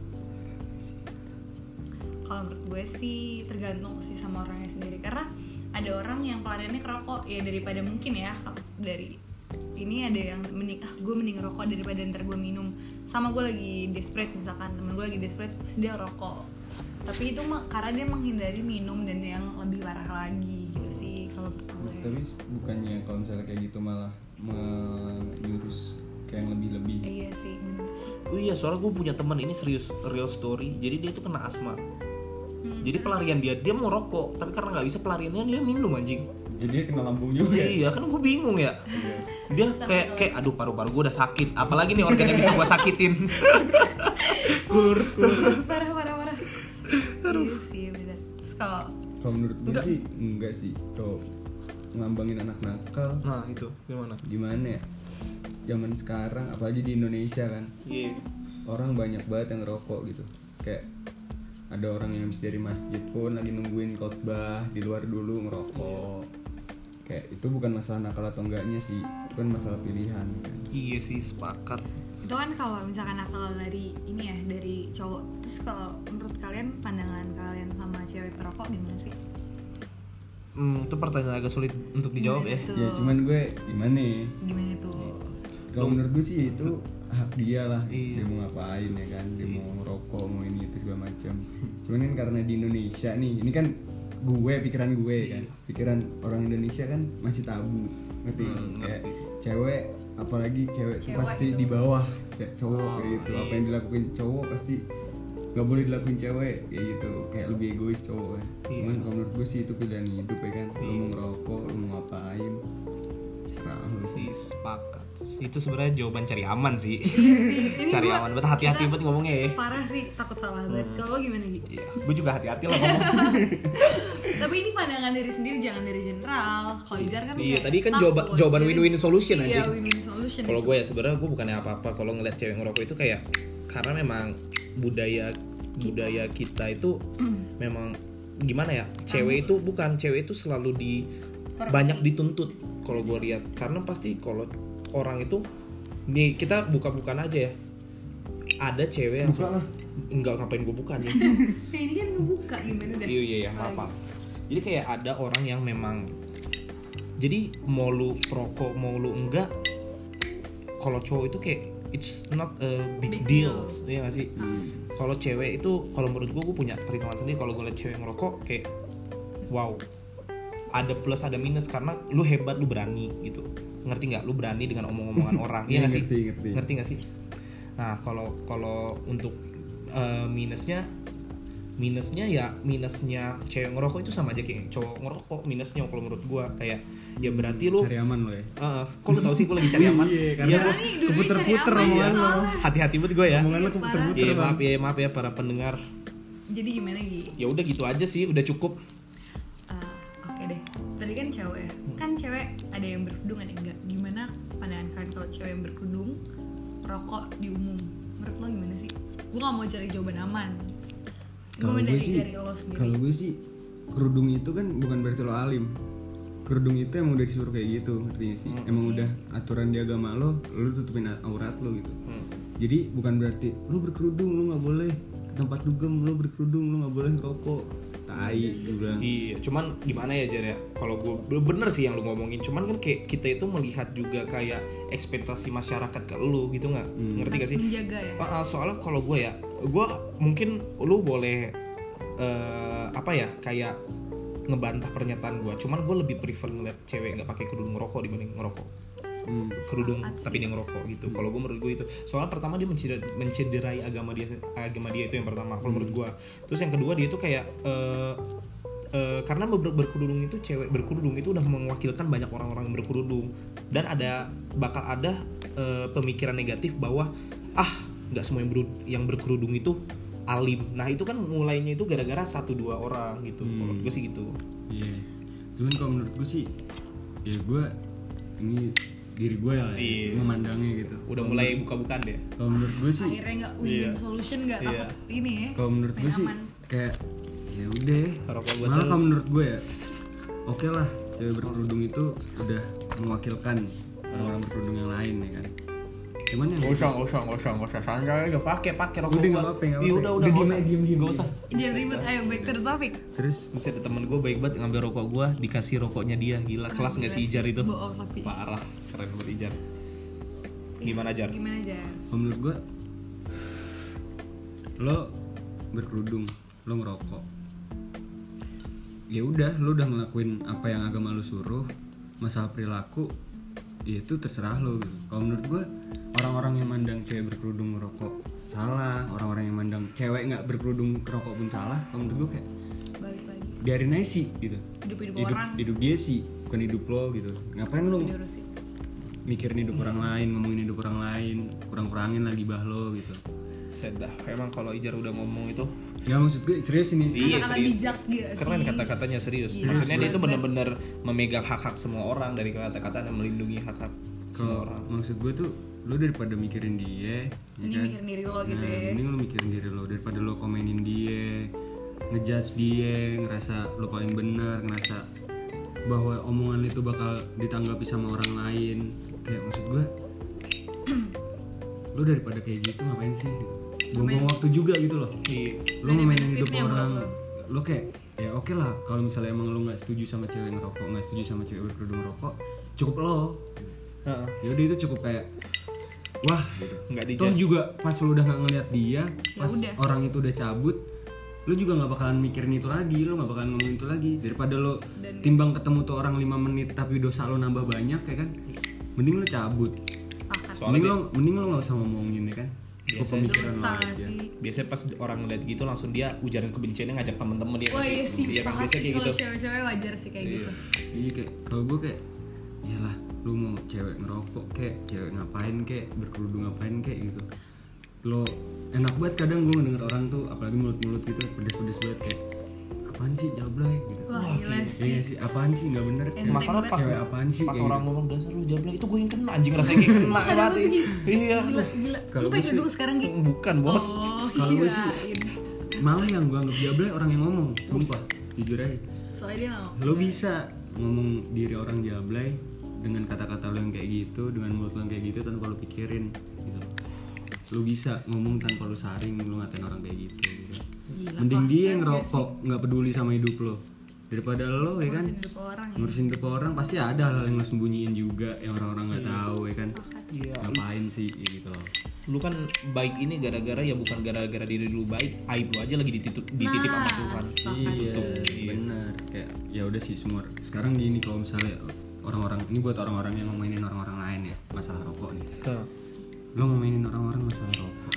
Kalau menurut gue sih tergantung sih sama orangnya sendiri karena ada orang yang pelariannya ke rokok ya daripada mungkin ya dari ini ada yang mending ah gue mending rokok daripada ntar gue minum sama gue lagi desperate misalkan temen gue lagi desperate terus dia rokok tapi itu mah karena dia menghindari minum dan yang lebih parah lagi gitu sih kalau menurut gue. Nah, Tapi bukannya kalau misalnya kayak gitu malah menyurus kayak yang lebih-lebih. Eh, iya sih bener sih. Oh iya, soalnya gue punya teman ini serius real story. Jadi dia itu kena asma. Jadi pelarian dia dia mau rokok, tapi karena nggak bisa pelariannya dia minum anjing. Jadi dia kena lambung juga. ya? Iya. Iya, kan gue bingung ya. Dia kayak kayak aduh paru-paru gue udah sakit, apalagi nih organ yang bisa gue sakitin. Kurs, kurs. Terus parah parah parah iya sih bener terus kalau Kalau menurut gue sih enggak sih. Kalau ngambangin anak nakal Nah itu gimana? gimana ya? Zaman sekarang apalagi di Indonesia kan Iya. orang banyak banget yang ngerokok gitu kayak ada orang yang habis dari masjid pun lagi nungguin khotbah di luar dulu ngerokok kayak itu bukan masalah nakal atau enggaknya sih itu kan masalah pilihan kan Iya sih sepakat. itu kan kalau misalkan nakal dari ini ya dari cowok terus kalau menurut kalian pandangan kalian sama cewek perokok gimana sih Hmm, itu pertanyaan agak sulit untuk dijawab Gimana ya. ya tuh? cuman gue gimana ya? gimana tuh kalau menurut gue sih itu hak dia lah dia Iya. mau ngapain ya kan dia mau ngerokok mau ini itu segala macam cuman kan karena di Indonesia nih ini kan gue pikiran gue Iya. kan pikiran orang Indonesia kan masih tabu ngerti nggak? Hmm, kayak cewek apalagi cewek, tuh Cewek pasti itu. di bawah kayak cowok Oh, kayak gitu apa iya. yang dilakuin cowok pasti nggak boleh dilakuin cewek kayak gitu kayak lebih egois cowok kan Iya. cuman kalau menurut gue sih itu pilihan hidup ya kan lu Iya. mau ngerokok lu mau ngapain serah lu Si sepakat. Itu sebenarnya jawaban cari aman sih. Ini cari gua- aman banget hati-hati kita banget ngomongnya ya. parah sih takut salah banget kalau lo gimana gitu Iya, gue juga hati-hati lah ngomong. tapi ini pandangan dari sendiri jangan dari general kalau Ijar kan Iya, kayak tadi kan takut, jawaban- jawaban jadi- win-win solution iya anjing. win-win solution kalau gue ya sebenarnya gue bukannya apa-apa kalau ngeliat cewek ngerokok itu kayak karena memang budaya budaya kita itu memang gimana ya cewek itu bukan cewek itu selalu di Perhati. banyak dituntut kalau gue lihat karena pasti kalau orang itu nih kita buka-bukaan aja ya ada cewek yang Buka lah. enggak ngapain gue buka nih nah, ini kan ngebuka gimana deh Iya iya iya maaf, maaf. Jadi kayak ada orang yang memang jadi mau lu perokok mau lu enggak kalau cowok itu kayak it's not a big, Big deal. deal. Iya gak sih? Kalau cewek itu kalau menurut gua gua punya perhitungan sendiri kalau gua liat cewek ngerokok kayak wow. Ada plus ada minus karena lu hebat lu berani gitu. Ngerti nggak? Lu berani dengan omong-omongan orang. Iya gak sih? ngerti ngerti ngerti nggak sih nah kalau kalau untuk eh, minusnya minusnya ya minusnya cewek ngerokok itu sama aja kayak cowok ngerokok minusnya kalau menurut gua kayak ya berarti lu cari aman lo ya eh, kok lu tau sih gua lagi cari Iya, aman karena Iya, Karena gua- nih dua-duanya keputer-puter cari aman, omongan lo. soalnya. hati-hati buat gua ya omongan lo Iya, keputer-puter kan. Iya maaf Bang. ya maaf ya para pendengar jadi gimana gitu ya udah gitu aja sih udah cukup Ah, Oke deh, tadi kan cewek ya. Hmm. Kan cewek ada yang berkerudung ada yang enggak. Gimana pandangan kalian kalau cewek yang berkerudung rokok di umum? Menurut lo gimana sih? Gue gak mau cari jawaban aman. Gue Kalau gue mending sih, dari lo kalau sendiri. gue sih kerudung itu kan bukan berarti lo alim. Kerudung itu emang udah disuruh kayak gitu, artinya sih. Hmm. Emang udah aturan di agama lo, lo tutupin a- aurat lo gitu. Hmm. Jadi bukan berarti lo berkerudung lo nggak boleh ke tempat dugem, lo berkerudung lo nggak boleh ngerokok. Tai, gue bilang. Iya, cuman gimana ya Jar ya? Kalau gue bener sih yang lu ngomongin, cuman kan kayak kita itu melihat juga kayak ekspektasi masyarakat ke lu gitu nggak? Hmm. Ngerti gak sih? Menjaga ya. Ah, ah, soalnya kalau gue ya, gue mungkin lu boleh eh, apa ya kayak ngebantah pernyataan gue. Cuman gue lebih prefer ngeliat cewek nggak pakai kerudung ngerokok dibanding ngerokok Hmm. kerudung Sepakat tapi dia ngerokok gitu. Kalau gue menurut gue itu, soalnya pertama dia menceder- mencederai agama dia agama dia itu yang pertama. Kalau menurut gue, terus yang kedua dia itu kayak eh, eh, karena ber- berkerudung itu cewek berkerudung itu udah mewakilkan banyak orang-orang yang berkerudung dan ada bakal ada eh, pemikiran negatif bahwa ah nggak semua yang, beru- yang berkerudung itu alim. Nah itu kan mulainya itu gara-gara satu dua orang gitu. Hmm. Menurut gue sih gitu. Iya. Cuman kalau menurut gue sih, ya gue ini diri gue ya, Iya. memandangnya gitu. Udah mulai buka-bukaan deh. Kalau menurut gue sih, Akhirnya nggak win-win Iya. solution nggak Iya. takut ini ya. kalau menurut gue main sih aman. kayak ya udah Ngerokok gua malah terus. kalau menurut gue ya oke lah cewek berkerudung itu udah mewakilkan orang berkerudung yang lain ya kan cuman yang Gak usah, gak usah, gak usah, gak usah santai aja pakai pakai rokok Udah, gua. nggak apa-apa, nggak Iya, apa-apa. udah, udah, Udah, gak diem usah, aja, diem, diem. gak usah. Jangan ribet, ya. ayo back to the topic. terus Terus ada temen gue baik banget ngambil rokok gue dikasih rokoknya dia gila kelas nggak sih Ijar itu Bohong tapi. parah keren banget Ijar gimana Jar Gimana aja? kalau menurut gue lo berkerudung lo ngerokok ya udah lo udah ngelakuin apa yang agama lo suruh masalah perilaku ya itu terserah lo gitu. kalau menurut gue orang-orang yang mandang cewek berkerudung ngerokok salah orang-orang yang mandang cewek nggak berkerudung ngerokok pun salah kalau menurut gue kayak balik lagi biarin aja sih gitu hidup hidup hidup, orang hidup dia sih bukan hidup lo gitu ngapain lo mesti diurusin mikirin hidup orang lain ngomongin hidup orang lain kurang-kurangin lagi bah lo gitu Sedah, emang kalau Ijar udah ngomong itu nggak Ya, maksud gue serius ini Iya, kata serius. bijak gak sih keren kata-katanya serius. Iya. Maksudnya dia itu Bener. benar-benar memegang hak-hak semua orang dari kata-kata dan melindungi hak-hak semua kalau orang. maksud gue tuh lo daripada mikirin dia ya ini kan? mikirin diri lo gitu nah, ya mending lo mikirin diri lo daripada lo komenin dia ngejudge dia ngerasa lo paling benar ngerasa bahwa omongan lo itu bakal ditanggapi sama orang lain kayak maksud gue lo daripada kayak gitu ngapain sih buang-buang waktu juga gitu loh Iya. lo Ada mainin hidup benefitnya buat orang lo. lo kayak ya oke lah kalau misalnya emang lo nggak setuju sama cewek ngerokok nggak setuju sama cewek berkerudung ngerokok cukup lo Heeh. yaudah itu cukup kayak wah gitu Nggak toh dijudge. juga pas lo udah nggak ngeliat dia pas Ya udah. orang itu udah cabut lo juga nggak bakalan mikirin itu lagi lo nggak bakalan ngomongin itu lagi daripada lo Dan- timbang ketemu tuh orang 5 menit tapi dosa lo nambah banyak ya kan mending lo cabut sepakat Soalnya mending lo mending lo nggak usah ngomongin ya kan cukup Biasanya- pemikiran lo dosa gak aja sih biasanya pas orang ngeliat gitu langsung dia ujaran kebenciannya ngajak temen-temen dia Wah iya sih, Iya kan sepakat biasa sih kayak kalau gitu cewek-cewek wajar sih kayak gitu Iya kayak kalau gue kayak iyalah lu mau cewek ngerokok kek, cewek ngapain kek, berkerudung ngapain kek gitu. Lo enak banget kadang gue denger orang tuh apalagi mulut-mulut gitu pedes-pedes banget kayak apaan sih jablay gitu. Wah gila Iya sih nggak sih, apaan sih nggak bener cewek. masalah pas Cewek apaan sih pas kayak orang ngomong dasar lu jabla itu gue yang kena anjing rasanya kayak kena Ada banget apa tuh, ini. iya Gila, gila Lu Kalau pengen gue duduk sekarang gitu bukan bos Oh Kalau gue sih- kirain gitu. Malah yang gue anggap jablay orang yang ngomong, sumpah jujur aja. Soalnya dia mau Lo bisa ngomong diri orang jablay dengan kata-kata lo yang kayak gitu, dengan mulut lo yang kayak gitu tanpa lo pikirin gitu. Lo bisa ngomong tanpa lo saring lo ngatain orang kayak gitu. gitu. Gila, Mending kelas dia banget yang gak ngerokok nggak peduli sama hidup lo daripada lo ya kan Ngurusin hidup orang ya ngurusin hidup orang pasti ada hal yang lo sembunyiin juga yang orang-orang nggak tahu ya kan iya ngapain sih ya gitu loh. lu kan baik ini gara-gara ya bukan gara-gara diri lu baik aib lu aja lagi dititip dititip Nah. sama Ah, Tuhan sepakat iya sih. benar kayak ya udah sih semua sekarang gini kalau misalnya orang-orang ini buat orang-orang yang ngomongin orang-orang lain ya masalah rokok nih Tuh. lo ngomongin orang-orang masalah rokok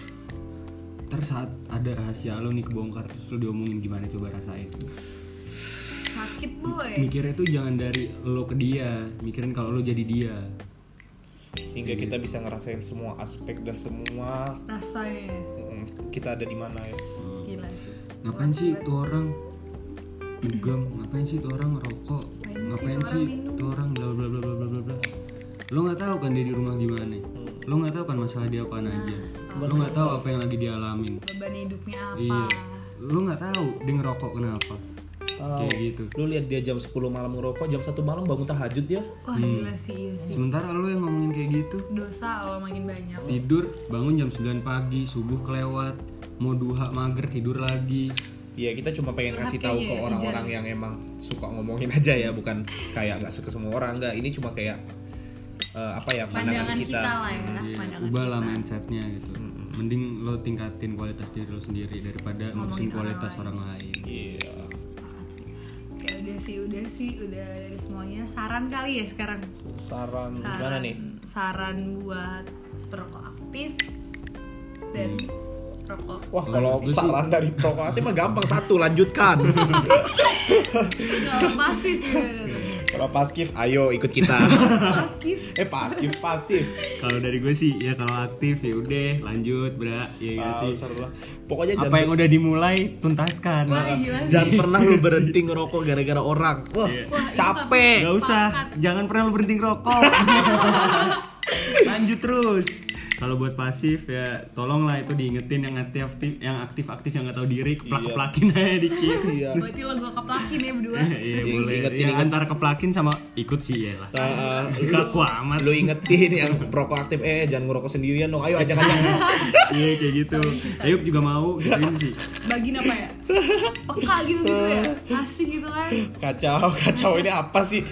ntar saat ada rahasia lo nih kebongkar terus lo diomongin gimana coba rasain Sakit boy mikirnya tuh jangan dari lo ke dia mikirin kalau lo jadi dia sehingga Iya. kita bisa ngerasain semua aspek dan semua Rasanya mm, kita ada di mana ya Gila sih ngapain sih tuh orang dugem ngapain sih tuh orang ngerokok ngapain sih tuh orang bla bla bla bla bla bla bla lo nggak tahu kan dia di rumah gimana lo nggak tahu kan masalah dia apaan aja lo nggak tahu apa yang lagi dia alamin Beban hidupnya apa iya lo nggak tahu dia ngerokok kenapa kayak gitu lu lihat dia jam 10 malam ngerokok jam 1 malam bangun tahajud ya Wah gila sih iya sih sementara lo yang ngomongin kayak gitu Dosa lo makin banyak tidur bangun jam 9 pagi subuh kelewat mau duha mager tidur lagi Iya kita cuma pengen Curhat kasih tahu kayaknya ke ya, orang-orang yang emang suka ngomongin aja ya bukan kayak nggak suka semua orang nggak ini cuma kayak eh, apa ya pandangan, Pandangan kita kita, lah ya Iya, Pandangan ubahlah kita mindsetnya gitu mending lo tingkatin kualitas diri lo sendiri daripada ngurusin kualitas orang lain Iya. Sepakat sih Kayak udah sih, udah sih, udah dari semuanya Saran kali ya sekarang Saran, saran, gimana nih? Saran buat perokok aktif dan Hmm. perokok Wah kalau gue sih- saran dari proaktif mah gampang satu lanjutkan. kalau pasif ya kalau paskif ayo ikut kita. pasif eh paskif pasif. kalau dari gue sih ya kalau aktif ya udah lanjut bra ya nggak Ah, sih seru lah. Pokoknya apa yang jangan, Iya udah dimulai tuntaskan wah Nah. iya. gila sih jangan pernah lu berhenti ngerokok gara-gara orang. Wah Wah, itu Eh, capek. Gak usah, jangan pernah lu berhenti ngerokok. Lanjut terus. Kalau buat pasif ya tolonglah itu diingetin yang aktif aktif yang aktif aktif yang nggak tahu diri keplak keplakin aja dikit. Iya. kan. berarti lo gue keplakin ya berdua Iya boleh. Diingetin, Ya, inget. antara keplakin sama ikut sih ya lah. Nah, eh, Kaku amat. lu ingetin yang proaktif eh jangan ngerokok sendirian dong ayo ajak-ajak Iya kayak gitu. Ayub juga mau gituin sih. bagiin apa ya peka gitu gitu ya asik gitu kan kacau kacau ini apa sih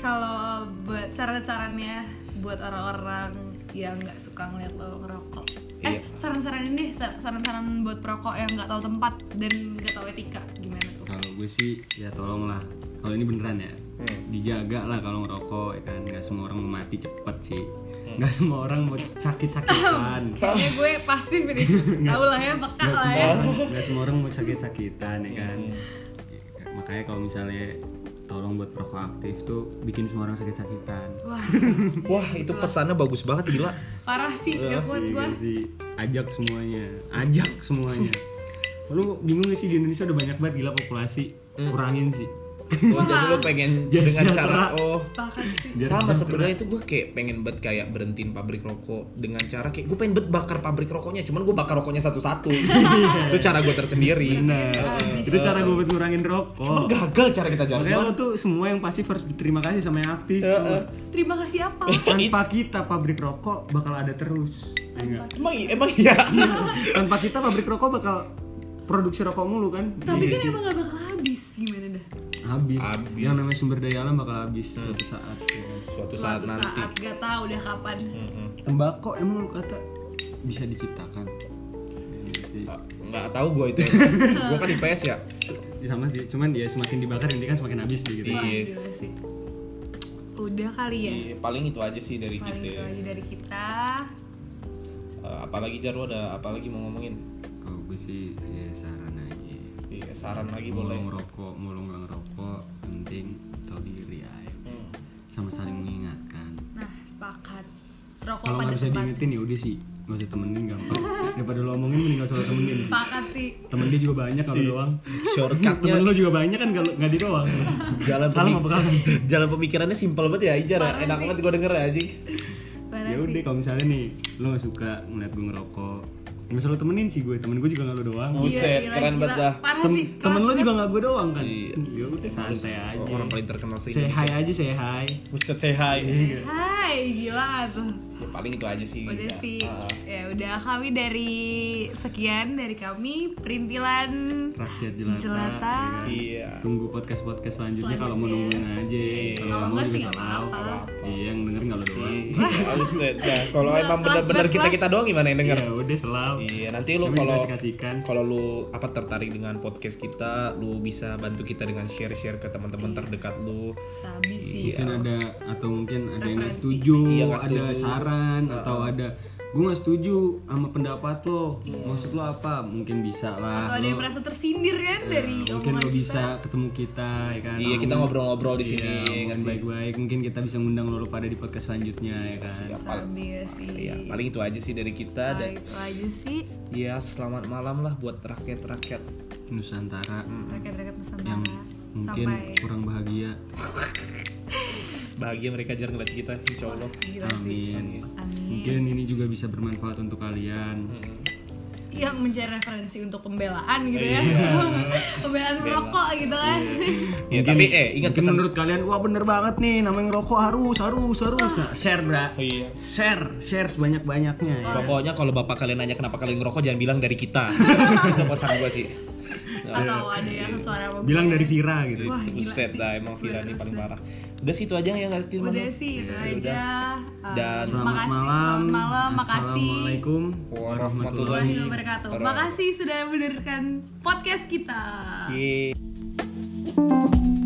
kalau buat saran-sarannya buat orang-orang yang nggak suka ngeliat lo ngerokok. Iya. Eh, saran-saran ini deh, sar- saran-saran buat perokok yang nggak tahu tempat dan nggak tahu etika gimana tuh? kalau gue sih ya tolong lah kalau ini beneran ya Hmm. dijaga lah kalau ngerokok ya kan nggak semua orang mau mati cepet sih Hmm. nggak semua orang mau sakit sakitan Kayaknya gue pasif ini. Tahu lah ya, peka nggak lah semua ya. orang nggak semua orang mau sakit sakitan ya kan makanya kalau misalnya tolong buat perokok aktif tuh bikin semua orang sakit sakitan Wah, Wah, itu pesannya bagus banget gila. parah sih, gak kuat gue. Iya sih ajak semuanya ajak semuanya lu bingung gak sih di Indonesia udah banyak banget gila populasi Hmm. kurangin sih Oh, jadi lu pengen Biar dengan sejahtera. cara oh Sepakat sih. Biar sama sejahtera. sebenarnya itu gue kayak pengen bet kayak berhentiin pabrik rokok dengan cara kayak gue pengen bet bakar pabrik rokoknya cuman gue bakar rokoknya satu-satu itu cara gue tersendiri Bener. Habis. Itu cara gue buat ngurangin rokok. cuman gagal cara kita jalan Makanya lo tuh semua yang pasif harus berterima kasih sama yang aktif. Heeh. Terima kasih apa? Tanpa kita pabrik rokok bakal ada terus. Ya nggak? emang i- emang iya Tanpa kita pabrik rokok bakal produksi rokok mulu kan? Tapi kan Iya sih. emang gak bakal habis gimana dah? habis. Habis. Yang namanya sumber daya alam bakal habis suatu saat. ya kan. suatu saat Suatu nanti saat gak tahu udah kapan. Mm-mm. Tembakau emang lu kata bisa diciptakan. Iya sih. nggak tahu gue itu gue kan IPS ya Ya sama sih, cuman ya semakin dibakar ini kan semakin habis dia gitu. Wah, Iya. gila sih. Udah kali ya. Iya, gitu ya. paling itu aja sih dari Paling kita itu aja dari kita. Eh, apalagi Jarwo ada apalagi mau ngomongin Kalau gue sih ya saran aja. Iya, saran lagi mau boleh lo ngerokok mau lo nggak ngerokok penting tahu diri aja Hmm. sama saling mengingatkan Nah, sepakat. Rokok kalau pada nggak bisa tempatnya. diingetin ya udah sih nggak usah temenin gampang daripada lo omongin mending nggak usah lo temenin sih Sepakat sih. temen dia juga banyak kalau doang shortcutnya temen lo juga banyak kan kalau nggak di doang jalan kalau pemik- mau bekalan jalan pemikirannya simpel banget ya Ijar ya. Parah enak sih. banget gue denger ya Aji Parah ya udah sih. kalau misalnya nih lo nggak suka ngeliat gue ngerokok nggak usah lo temenin sih gue temen gue juga nggak lo doang Buset, keren banget dah. Parah Tem- Oh, sih. ya? temen lo keras juga nggak gue doang kan Iya. ya udah santai aja orang paling terkenal sih say hi Iya. aja say hi Buset say hi banget. Hai, gila tuh. Ya, paling itu aja sih Udah Iya. Ya. sih. Ah, Ya udah kami dari sekian dari kami perintilan rakyat jelata, Jelata. ya kan? Iya. tunggu podcast podcast selanjutnya kalau mau Selanjutnya. Iya. nungguin aja kalau Kalau nggak mau enggak sih juga nggak salau apa-apa. iya yang denger nggak lo doang Iya, buset. Nah, kalau Gila, emang kelas bener-bener banget, kita kita kelas. doang gimana yang denger ya udah selau Iya, nanti lu Kami kalau juga kan? kasihkan. kalau lu apa tertarik dengan podcast kita, lu bisa bantu kita dengan share-share ke Iya. teman-teman terdekat lu. Sabi sih. mungkin ada atau mungkin ada yang nggak Referensi. setuju Iya, nggak ada setuju. saran atau ada gue nggak setuju sama pendapat lo Iya. maksud lo apa mungkin bisa lah Atau ada yang Lo- merasa tersindir kan ya, dari mungkin omongan lo kita. bisa ketemu kita ya kan Iya, kita ngobrol-ngobrol di sini, ya Iya, nggak ngobrol sih? baik-baik mungkin kita bisa ngundang lo lo pada di podcast selanjutnya ya kan Sabi ya sih. Iya, paling itu aja sih dari kita Nah, dan itu aja sih ya selamat malam lah buat rakyat-rakyat. Nusantara rakyat-rakyat yang Nusantara. mungkin Sampai kurang bahagia Bahagia mereka jarang ngeliat kita, insya Allah. gila sih. amin Amin. mungkin ini juga bisa bermanfaat untuk kalian yang mencari referensi untuk pembelaan gitu Iya. ya pembelaan merokok gitu kan Iya. Ya, tapi eh ingat mungkin pesan menurut kalian wah bener banget nih namanya ngerokok harus harus harus Nah, share bra Iya. share share sebanyak banyaknya ya. Pokoknya kalau bapak kalian nanya kenapa kalian ngerokok jangan bilang dari kita. itu pesan gue sih. atau ada yang suara mobil Iya. bilang dari Vira gitu wah gila Buset sih dah emang Vira nih Bener, paling sih. parah. Udah sih itu aja ya nggak sih, Mano? udah sih itu aja Eh, Dan- selamat makasih. malam selamat malam makasih assalamualaikum warahmatullahi warahmatullahi wabarakatuh Iya. makasih sudah mendengarkan podcast kita Yeay.